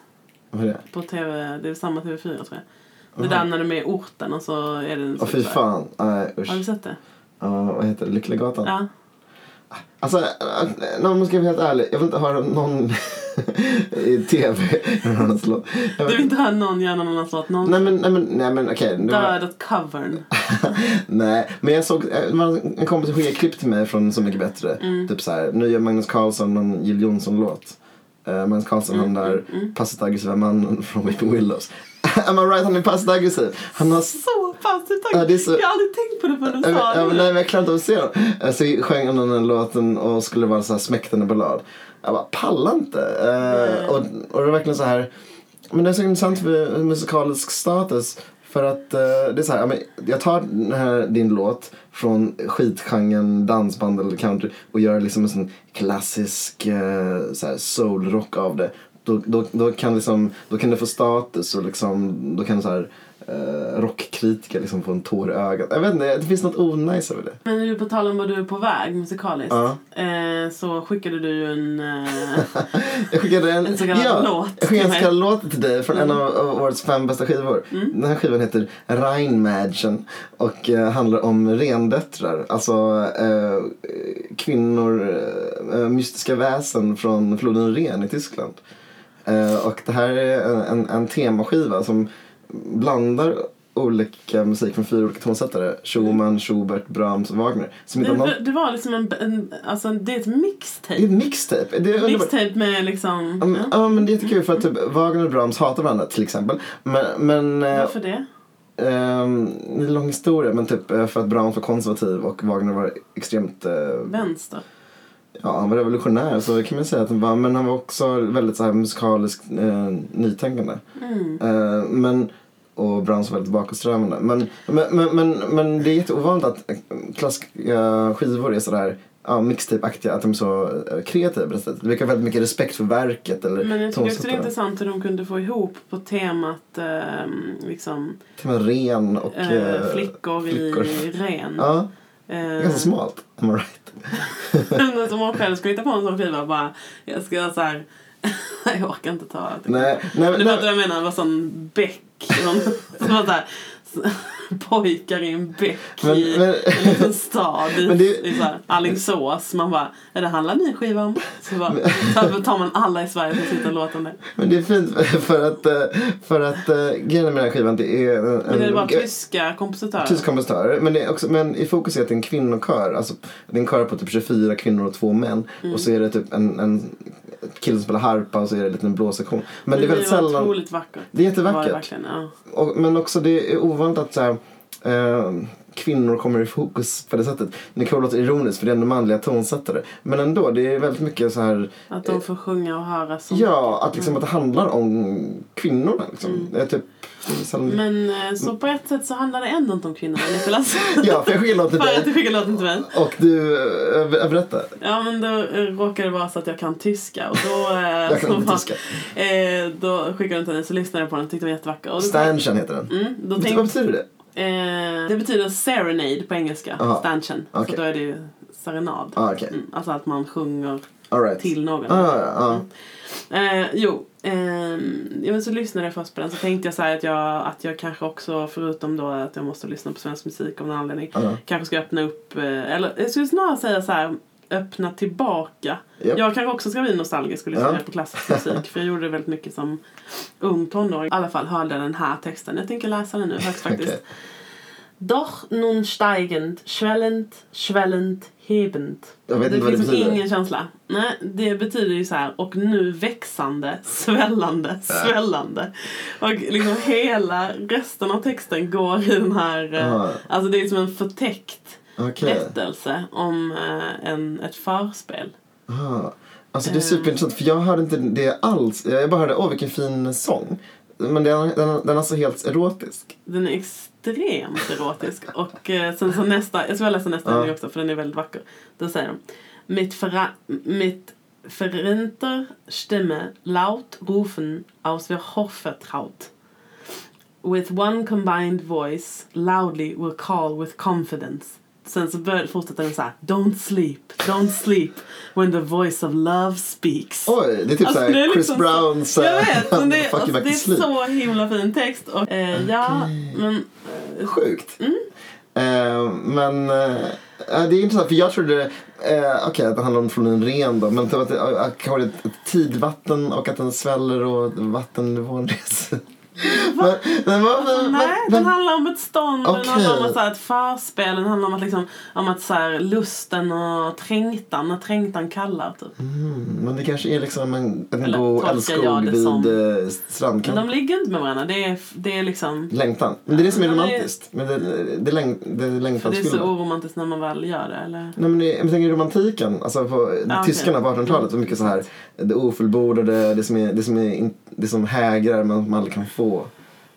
B: Vad är det?
C: På TV, det är samma TV4 tror jag. Det där när de är i orten och så är det en
B: Åh fy fan. Nej usch.
C: Har du sett det?
B: Ja, vad heter det? Lyckliggatan?
C: Ja.
B: Alltså, äh, nej, om jag ska vara helt ärlig. Jag vill inte höra någon i tv göra någon slå. Jag
C: Du vill
B: vill-
C: inte höra någon göra någon annans låt någonsin?
B: Nej men, nej men, nej men okej. nu var-
C: Död åt covern.
B: Nej, men jag såg eh, det var en kompis som skickade klipp till mig från Så mycket bättre.
C: Mm.
B: Typ så här, nu gör Magnus Carlsson någon Jill Johnson-låt. Eh, Magnus Carlsson,
C: Mm,
B: han där passivt aggressiva mannen från Weeping Willows. Am I right? Han är passivt aggressiv. Han har... s-
C: så passivt
B: Alltså. Ja, det är så-
C: Jag har aldrig tänkt på det förrän du
B: Jag,
C: sa
B: jag, nej,
C: det.
B: men jag klarar inte av att se honom. Eh, Så sjöng han den låten och skulle vara så här smäktande ballad. Jag bara, pallar inte. Eh, och, och det var verkligen så här. Men det är så intressant för musikalisk status. För att eh, det är så här, ja, men jag tar den här, din låt från skitgenren dansband eller country och gör liksom en sån klassisk eh, så här, soulrock av det. Då, då, då, kan liksom, då kan det få status och liksom, då kan så här, eh, rockkritiker liksom få en tår i ögat. Jag vet inte, det finns något onajs över det.
C: Men nu på tal om vad du är på väg musikaliskt. Eh, så skickade du ju en... Eh,
B: Jag skickade en,
C: En så kallad låt
B: jag skickade en
C: till
B: så kallad låt till dig från en av, av årets fem bästa skivor. Den här skivan heter Rheinmädchen och eh, handlar om rendöttrar. Alltså eh, kvinnor, eh, mystiska väsen från floden Ren i Tyskland. Eh, och det här är en, en, en temaskiva som blandar olika musik från fyra olika tonsättare. Schumann, Schubert, Brahms och Wagner. Som inte har någon...
C: det, det var liksom en... en alltså, det är ett
B: Det är
C: mixtape.
B: ett mixtape. Det är underbart.
C: Mixtape med liksom...
B: Ja, men-
C: ja.
B: Mm, Ja, men det är jättekul för att typ, Wagner och Brahms hatar varandra till exempel. Men, men eh,
C: Varför det?
B: ehm, det är en lång historia, men typ eh, för att Brahms var konservativ och Wagner var extremt, eh,
C: Vänster.
B: ja han var revolutionär så kan man säga att han var, men han var också väldigt så här musikaliskt eh, nytänkande.
C: Mm.
B: Eh, men, och Brahms var väldigt bakåtsträvande. Men, men, men, men, men det är jätteovanligt att eh, klassiska skivor är sådär Ja, mixtape-aktiga, att de är så eh, kreativa på det sättet. Det verkar väldigt mycket respekt för verket eller
C: Men jag tycker också det är
B: tonsättaren.
C: intressant hur de kunde få ihop på temat eh, liksom,
B: Till och med ren och...
C: eh,
B: eh,
C: flickor,
B: flickor.
C: i ren.
B: Ja,
C: Eh,
B: ganska smalt. Am I right?
C: Men som man själv skulle hitta på en sån skiva bara, jag ska göra så här. Nej, jag orkar inte ta det.
B: Nej, nej,
C: Du
B: nej.
C: vet vad jag menar, det var sån bäck. Någon, som var så här, s- pojkar i en bäck
B: Men-
C: i
B: men-
C: en liten stad i,
B: Men det-
C: i så här, Alingsås. Man bara, är det handlar ni skiva om? Så bara, så tar man alla i Sverige som sitter och låter om det.
B: Men det är fint för att, eh, för att eh, grejen med den här skivan det är en,
C: Men det är
B: en
C: bara tyska kompositörer.
B: tysk kompositör. Men, det är också, men i fokus är att det är en kvinnokör. Alltså, det är en kör på typ 24 kvinnor och två män.
C: Mm.
B: Och så är det typ en, en kille som spelar harpa och så är det en liten blåsektion. Men, det är väldigt
C: var
B: sällan...
C: otroligt vackert.
B: Det är
C: Var det
B: jättevackert.
C: verkligen, ja.
B: Och, men också det är ovanligt att så här, eh, kvinnor kommer i fokus på det sättet. Det kan låta ironiskt för det är ändå manliga tonsättare. Men ändå, det är väldigt mycket så här...
C: Att de får sjunga och höra som
B: Eh, Ja, att, liksom, att det handlar om kvinnorna. Liksom. Det är typ, sällan-
C: Mm. Men eh, så på ett sätt så handlar det ändå inte om kvinnorna, Nicolas.
B: Ja, för jag skickade låten till
C: För att du
B: dig.
C: skickade låten till mig.
B: Och du, eh, berätta.
C: Ja men då eh, råkade det vara så att jag kan tyska och då... Eh,
B: Jag kan
C: så
B: inte
C: bara-
B: tyska.
C: Eh, då skickade den till mig så lyssnade jag på den och tyckte den var jättevacker. Och då,
B: Stanchen heter den.
C: mm, då
B: Vet du Vad
C: tänkte,
B: betyder det?
C: eh, det betyder serenade på engelska,
B: Aha.
C: stanchen.
B: Okej.
C: Så då är det ju serenad.
B: Ah, okej.
C: Mm, alltså att man sjunger
B: All right.
C: till någon.
B: Ah, ja, ja.
C: Eh, jo, ehm, ja, men så lyssnade jag först på den så tänkte jag så här att jag, att jag kanske också, förutom då att jag måste lyssna på svensk musik av någon anledning,
B: Ja.
C: kanske ska öppna upp, eh, eller jag skulle snarare säga så här öppna tillbaka.
B: Japp.
C: Jag kanske också ska bli nostalgisk och lyssna
B: Ja.
C: mer på klassisk musik. För jag gjorde det väldigt mycket som ung tonåring. I alla fall hörde jag den här texten. Jag tänker läsa den nu högt faktiskt.
B: Okej.
C: Doch nun steigend, schwellend, schwellend, hebend.
B: Jag vet
C: det
B: inte vad det
C: finns liksom
B: betyder.
C: ingen känsla. Nej, det betyder ju så här. Och nu växande, svällande, svällande. Och liksom hela resten av texten går i den här... eh,
B: Ja.
C: Alltså det är som en förtäckt
B: Ah, Okej.
C: berättelse om eh, en, ett förspel.
B: Ah. Alltså det är superintressant för jag hörde inte det alls. Jag bara hörde, åh vilken fin sång. Men den, den, den är alltså helt erotisk.
C: Den är extremt erotisk. Och eh, sen så nästa, jag ska läsa nästa
B: Ja.
C: mening också för den är väldigt vacker. Då säger de. Mitt, förra, mitt Verenter Stimme laut rufen aus wir Hofvertraut. With one combined voice loudly will call with confidence. Sen så bör, fortsätter den så här. Don't sleep, don't sleep when the voice of love speaks.
B: Oj, det är typ
C: Alltså,
B: såhär
C: det är
B: Chris
C: liksom så-
B: Browns...
C: Jag vet, men det,
B: Fuck
C: alltså,
B: you back
C: det
B: to
C: är
B: sleep.
C: så himla fin text. Och, eh, Ja, men
B: Sjukt.
C: Mm.
B: Eh, men eh, eh, det är intressant för jag trodde, eh, okej att det handlar om från en ren då, men typ att det uh, kanske det är ett tidvatten och att den sväller och vattennivån reser. Men, men, vad- men,
C: Alltså, Nej,
B: men,
C: den handlar om ett stånd, den
B: Okej.
C: handlar om ett, så här, ett förspel, den handlar om att, liksom, om att så här, lusten och trängtan, när trängtan kallar typ.
B: mm, men det kanske är liksom en, en
C: Eller
B: god
C: tolkar jag
B: älskog
C: det
B: vid
C: som?
B: eh,
C: Men
B: strandkanten.
C: de ligger inte med varandra, det är, det är liksom...
B: Längtan. Men det är det som är
C: Ja, men det-
B: romantiskt. Men det, det, är läng, det
C: För
B: är
C: det är så
B: längtansfyllda.
C: oromantiskt när man väl gör det, eller?
B: Nej men det- jag tänker romantiken, alltså på
C: okej.
B: tyskarna på 1800-talet var mycket så här det ofullbordade, det som, är, det som, är in, det som hägrar men som aldrig kan få.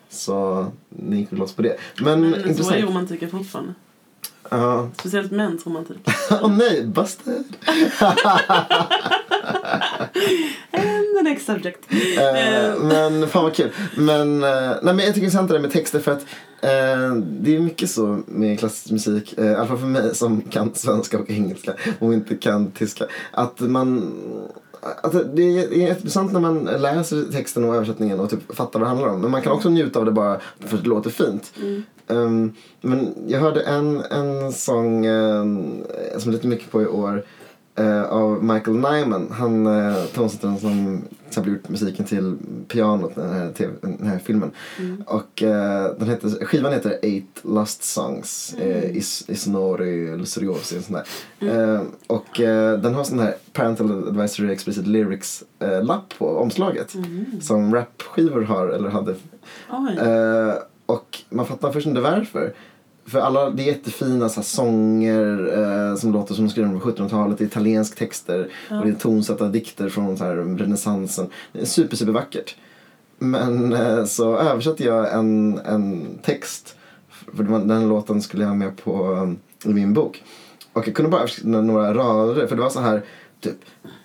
B: Så ni gick väl loss på det. Men,
C: Men så är
B: intressant.
C: romantiken fortfarande.
B: Ja.
C: Speciellt mäns romantik.
B: Åh nej, busted!
C: And the next subject.
B: Eh, men fan vad kul. Men, eh, nej, men jag tycker det är intressant det där med texter för att eh, det är mycket så med klassisk musik, eh, i alla fall för mig som kan svenska och engelska och inte kan tyska, att man att det- det är det är jätteintressant när man läser texten och översättningen och typ fattar vad det handlar om. Men man kan också njuta av det bara för att det låter fint. Ehm, men jag hörde en, en sång ehm, som jag lite mycket på i år eh, av Michael Nyman. Han uh, tonsättaren som till exempel gjort musiken till pianot i den här, TV, den här filmen. Och eh, den heter, skivan heter Eight Lust Songs eh, i, s- i Sonori Lusuriosi och sånt där. Eh, och eh, den har sån här Parental Advisory Explicit Lyrics-lapp på omslaget. Som rapskivor har, eller hade
C: mm. Oj.
B: Eh, och man fattar först inte varför. För alla, det är jättefina så här, sånger eh, som låter som skrivna på 1700-talet, det är italiensk texter och det är tonsatta dikter från så här, renässansen. Det är super, super vackert. Men eh, så översatte jag en, en text, för det var- den låten skulle jag ha med på eh, i min bok. Och jag kunde bara översätta några rader, för det var så här typ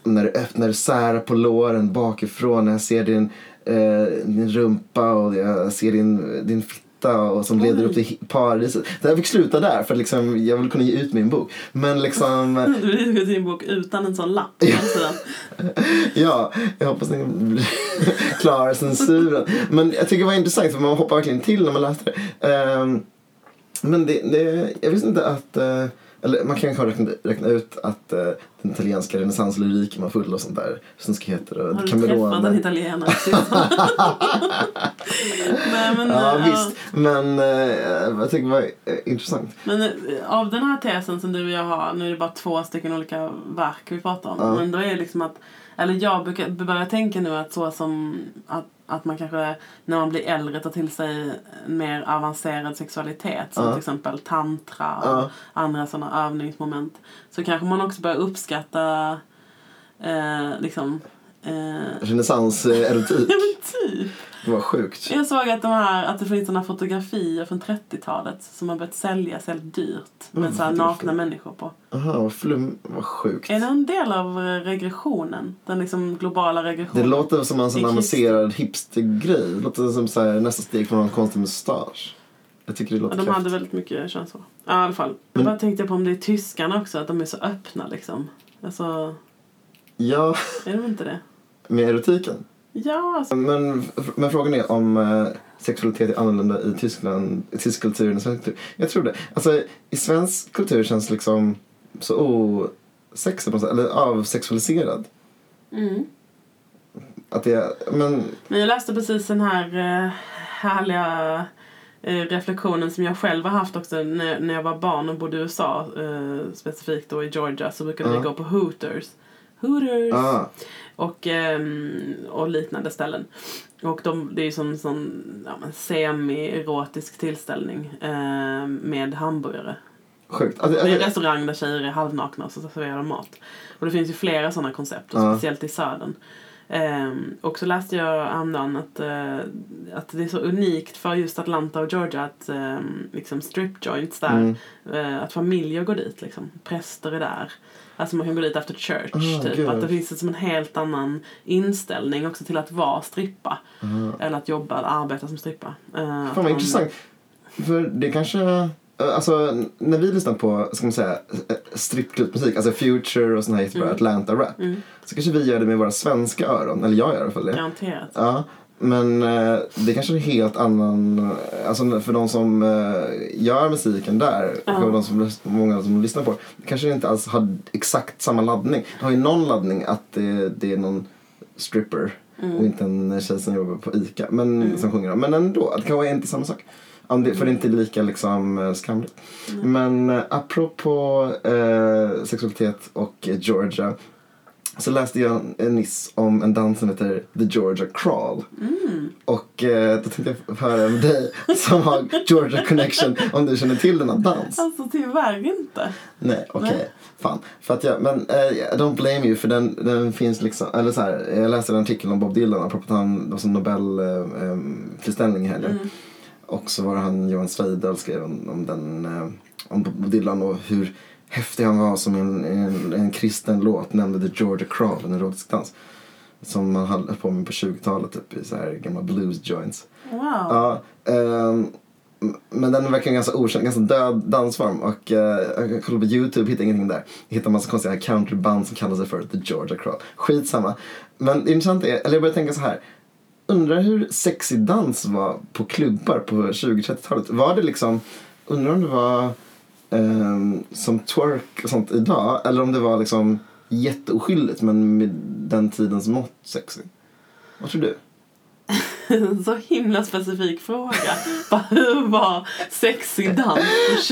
B: när du öppnar sär på låren bakifrån, när jag ser din, eh, din rumpa och jag ser din, din fitta och som leder upp till hi- paradiset. Så jag fick sluta där för att liksom, jag ville kunna ge ut min bok. Men liksom,
C: Du vill skriva din bok utan en sån lapp på hemsidan.
B: ja, jag hoppas ni klarar censuren. Men jag tycker det var intressant för man hoppar verkligen till när man läste det. Ehm, Men det, det, jag visste inte att, eh, eller man kan kanske räkna, räkna ut att eh, den italienska renässanslyriken var full av sånt där snuskigheter och
C: Har du
B: Camerone.
C: träffat en italienare? Nej, men,
B: Ja,
C: eh,
B: visst. Men eh, jag tycker det var eh, intressant.
C: Men eh, av den här tesen som du och jag har, nu är det bara två stycken olika verk vi pratar om.
B: Ja.
C: Men då är det liksom att, eller jag brukar börja tänka nu att så som att, att man kanske när man blir äldre tar till sig en mer avancerad sexualitet som
B: Ja.
C: till exempel tantra och
B: Ja.
C: andra sådana övningsmoment. Så kanske man också börjar uppskatta eh, liksom eh,
B: Renässans-erotik.
C: Ja men typ.
B: Det var sjukt.
C: Jag såg att, de här, att det finns såna fotografier från 30-talet som har börjat säljas väldigt dyrt.
B: Mm,
C: Med så här nakna människor på.
B: Aha, vad flum. Vad sjukt.
C: Är det en del av eh, regressionen? Den liksom globala
B: Det
C: regressionen?
B: låter som en sån
C: Det är
B: avancerad hipstergrej. Det låter som så här, nästa steg från någon konstig mustasch. Jag tycker det
C: Ja,
B: låter
C: de
B: kräftigt.
C: hade väldigt mycket könshår. Ja, i alla fall. Jag bara tänkte på om det är tyskarna också, att de är så öppna liksom. Alltså,
B: Ja,
C: är de inte det?
B: med erotiken.
C: Ja, alltså.
B: Men, men frågan är om eh, sexualitet är annorlunda i Tyskland, i tysk kultur än i svensk kultur. Jag tror det. Alltså, i svensk kultur känns det liksom så o... sex på något sätt, eller avsexualiserad.
C: Mm.
B: Att det är, men
C: Men jag läste precis den här eh, härliga eh, reflektionen som jag själv har haft också när, när jag var barn och bodde i USA, eh, specifikt då i Georgia, så brukade
B: Ja.
C: vi gå på Hooters. Hooters!
B: ah,
C: Och, ehm, och liknande ställen. Och de, det är ju som en sån ja, men semi-erotisk tillställning ehm, med hamburgare.
B: sjukt. Att,
C: Det är en
B: att,
C: restaurang där tjejer är halvnakna och så serverar de mat. Och det finns ju flera sådana koncept, och
B: Ja.
C: speciellt i södern. Ehm, och så läste jag häromdagen att, eh, att det är så unikt för just Atlanta och Georgia att ehm, liksom strip joints där,
B: Mm.
C: eh, att familjer går dit liksom. Präster är där. Alltså man kan gå dit efter church,
B: Ah,
C: typ.
B: gud.
C: Att det finns som en helt annan inställning också till att vara strippa. Eller att jobba, arbeta som strippa. Eh, att
B: fan vad
C: man-
B: intressant. För det kanske, eh, alltså när vi lyssnar på, ska man säga, eh, strippklubbmusik, alltså Future och sån här jättebra Atlanta-rap.
C: Mm,
B: Så kanske vi gör det med våra svenska öron, eller jag gör i alla fall det.
C: Garanterat.
B: Ja, men eh, det kanske är en helt annan, alltså för de som eh, gör musiken där, och de som, lys- många som lyssnar på det, kanske det inte alls har exakt samma laddning. Det har ju någon laddning att det, det är någon stripper
C: Mm.
B: och inte en tjej som jobbar på ICA men, som sjunger. Men ändå, det kanske inte är samma sak. Om det, för det är inte lika liksom eh, skamligt. Men eh, apropå eh, sexualitet och eh, Georgia så läste jag eh, nyss om en dans som heter The Georgia Crawl.
C: Mm.
B: Och eh, då tänkte jag höra med dig som har Georgia Connection om du känner till denna dans.
C: Alltså tyvärr inte.
B: Nej, okej.
C: Nej.
B: Fan. För att jag, men eh, I don't blame you för den, den finns liksom, eller så här, jag läste en artikel om Bob Dylan apropå att han, det var en Nobelpriställning eh, i
C: Mm.
B: helgen. Och så var det han Johan Sveidel skrev om, om den, eh, om Bob Dylan och hur häftig han var som en, en, en kristen låt nämnde The Georgia Crawl, en erotisk dans. Som man höll på med på 20-talet typ i så här gamla blues joints.
C: Wow.
B: Ja, ehm, m- men den verkar ganska okänd, ganska död dansform och eh, jag kollade på youtube, hittade ingenting där. Hittade massa konstiga countryband som kallar sig för The Georgia Crawl. Skitsamma. Men det intressanta är, eller jag började tänka så här. Undrar hur sexig dans var på klubbar på 20-30-talet. Var det liksom, undrar om det var ehm, som twerk och sånt idag eller om det var liksom jätteoskyldigt men med den tidens mått sexig. Vad tror du?
C: En så himla specifik fråga. Bara, Hur var sexig dans på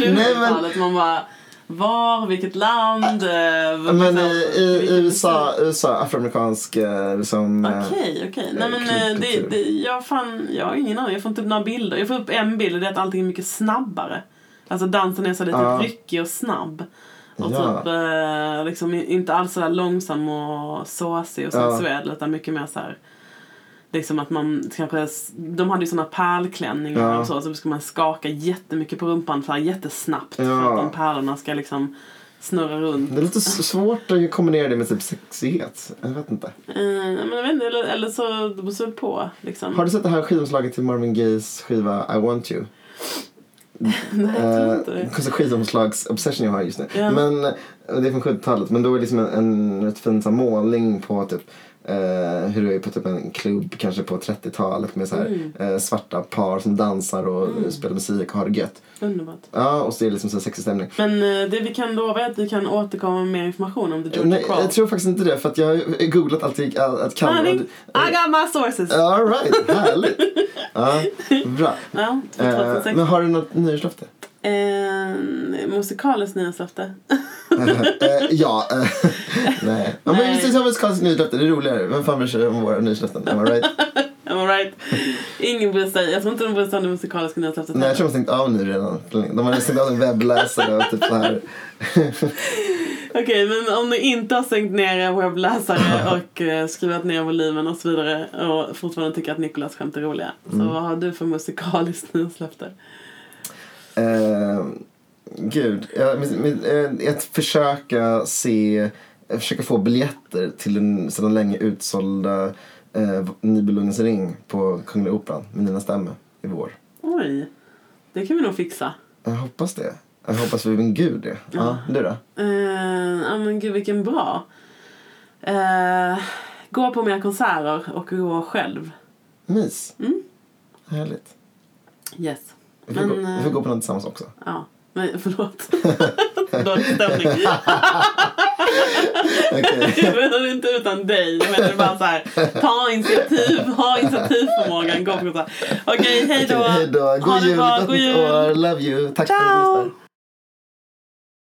B: Nej, men-
C: 20-talet? Man bara, var, vilket land? eh, vad-
B: Men
C: liksom,
B: i, i
C: vilken
B: USA,
C: kultur?
B: USA, afroamerikansk eh, liksom... eh,
C: Okej, okej. Nej men eh, det,
B: klubbkultur.
C: det, jag, fan, jag har ingen aning. Jag får inte upp några bilder. Jag får upp en bild och det är att allting är mycket snabbare. Alltså dansen är så lite
B: Ja.
C: ryckig och snabb. Och
B: Ja.
C: typ eh, liksom i- inte alls sådär långsam och såsig och
B: Ja.
C: sensuell utan mycket mer så här. Liksom att man kanske, s- de hade ju såna pärlklänningar
B: Ja.
C: och så, så ska man skaka jättemycket på rumpan så här jättesnabbt för
B: Ja.
C: att de pärlorna ska liksom snurra runt.
B: Det är lite s- svårt att kombinera det med typ sexighet. Jag vet inte.
C: Eh, men jag vet inte, eller, eller så, det beror så på liksom.
B: Har du sett det här skivomslaget till Marvin Gayes skiva I want you?
C: Nej, jag tror inte det.
B: Eh, konstig skivomslags-obsession jag har just nu.
C: Ja.
B: Men, eh, det är från 70-talet, men då är det liksom en, en rätt fin så här, målning på typ eh, hur det är på typ en klubb kanske på 30-talet med så här,
C: Mm,
B: eh, svarta par som dansar och eh, spelar musik och har det gött.
C: Underbart.
B: Ja, och så är det liksom så här sexig stämning.
C: Men eh, det vi kan lova är att vi kan återkomma med mer information om The Georgia
B: Nej,
C: Crawl.
B: jag tror faktiskt inte det för att jag har googlat allt jag all- allt kan.
C: Honey, I got my Ah, sources! Ja,
B: All right, härligt. ja, bra. Eh,
C: 2006.
B: men har du något nyårslöfte?
C: Eh, musikaliskt nyårslöfte.
B: Eh, ja. eh, nej. Ja, men
C: Nej.
B: vi ska ha musikaliskt nyårslöfte, det är roligare. Vem fan bryr sig om våra nyårslöften? Am I right?
C: Am I right? Ingen bryr sig. Jag tror inte de bryr sig om det musikaliska nyårslöftet.
B: Nej, jag
C: heller.
B: tror de har stängt av nu redan. De har stängt av en webbläsare och typ så här.
C: Okej, men om ni inte har stängt ner er webbläsare och eh, skruvat ner volymen och så vidare och fortfarande tycker att Nikolas skämt är roliga.
B: Mm.
C: Så vad har du för musikaliskt nyårslöfte?
B: Eh, gud, jag, min, min, eh, att försöka se, jag försöker få biljetter till den sedan länge utsålda eh, Nibelungens ring på Kungliga Operan med Nina Stämme i vår.
C: Oj, det kan vi nog fixa.
B: Jag hoppas det. Jag hoppas vid min gud det. Ja, du då?
C: Eh, Ja men gud vilken bra. Eh, gå på mer konserter och gå själv.
B: Mys. Härligt.
C: Yes.
B: Vi får,
C: Mm. Men,
B: gå, vi får
C: eh,
B: gå på den tillsammans också.
C: Ja, men förlåt. Dålig stämning.
B: Okej.
C: Det är inte utan dig. Men det är bara så här, ta initiativ, ha initiativförmågan. Gå på så här, Okej, hej då.
B: Okej, Hej då.
C: Ha
B: God
C: det
B: jul,
C: bra,
B: gott
C: god
B: nytt
C: jul.
B: år. Love you. Tack för att du
C: Ciao.
B: lyssnar.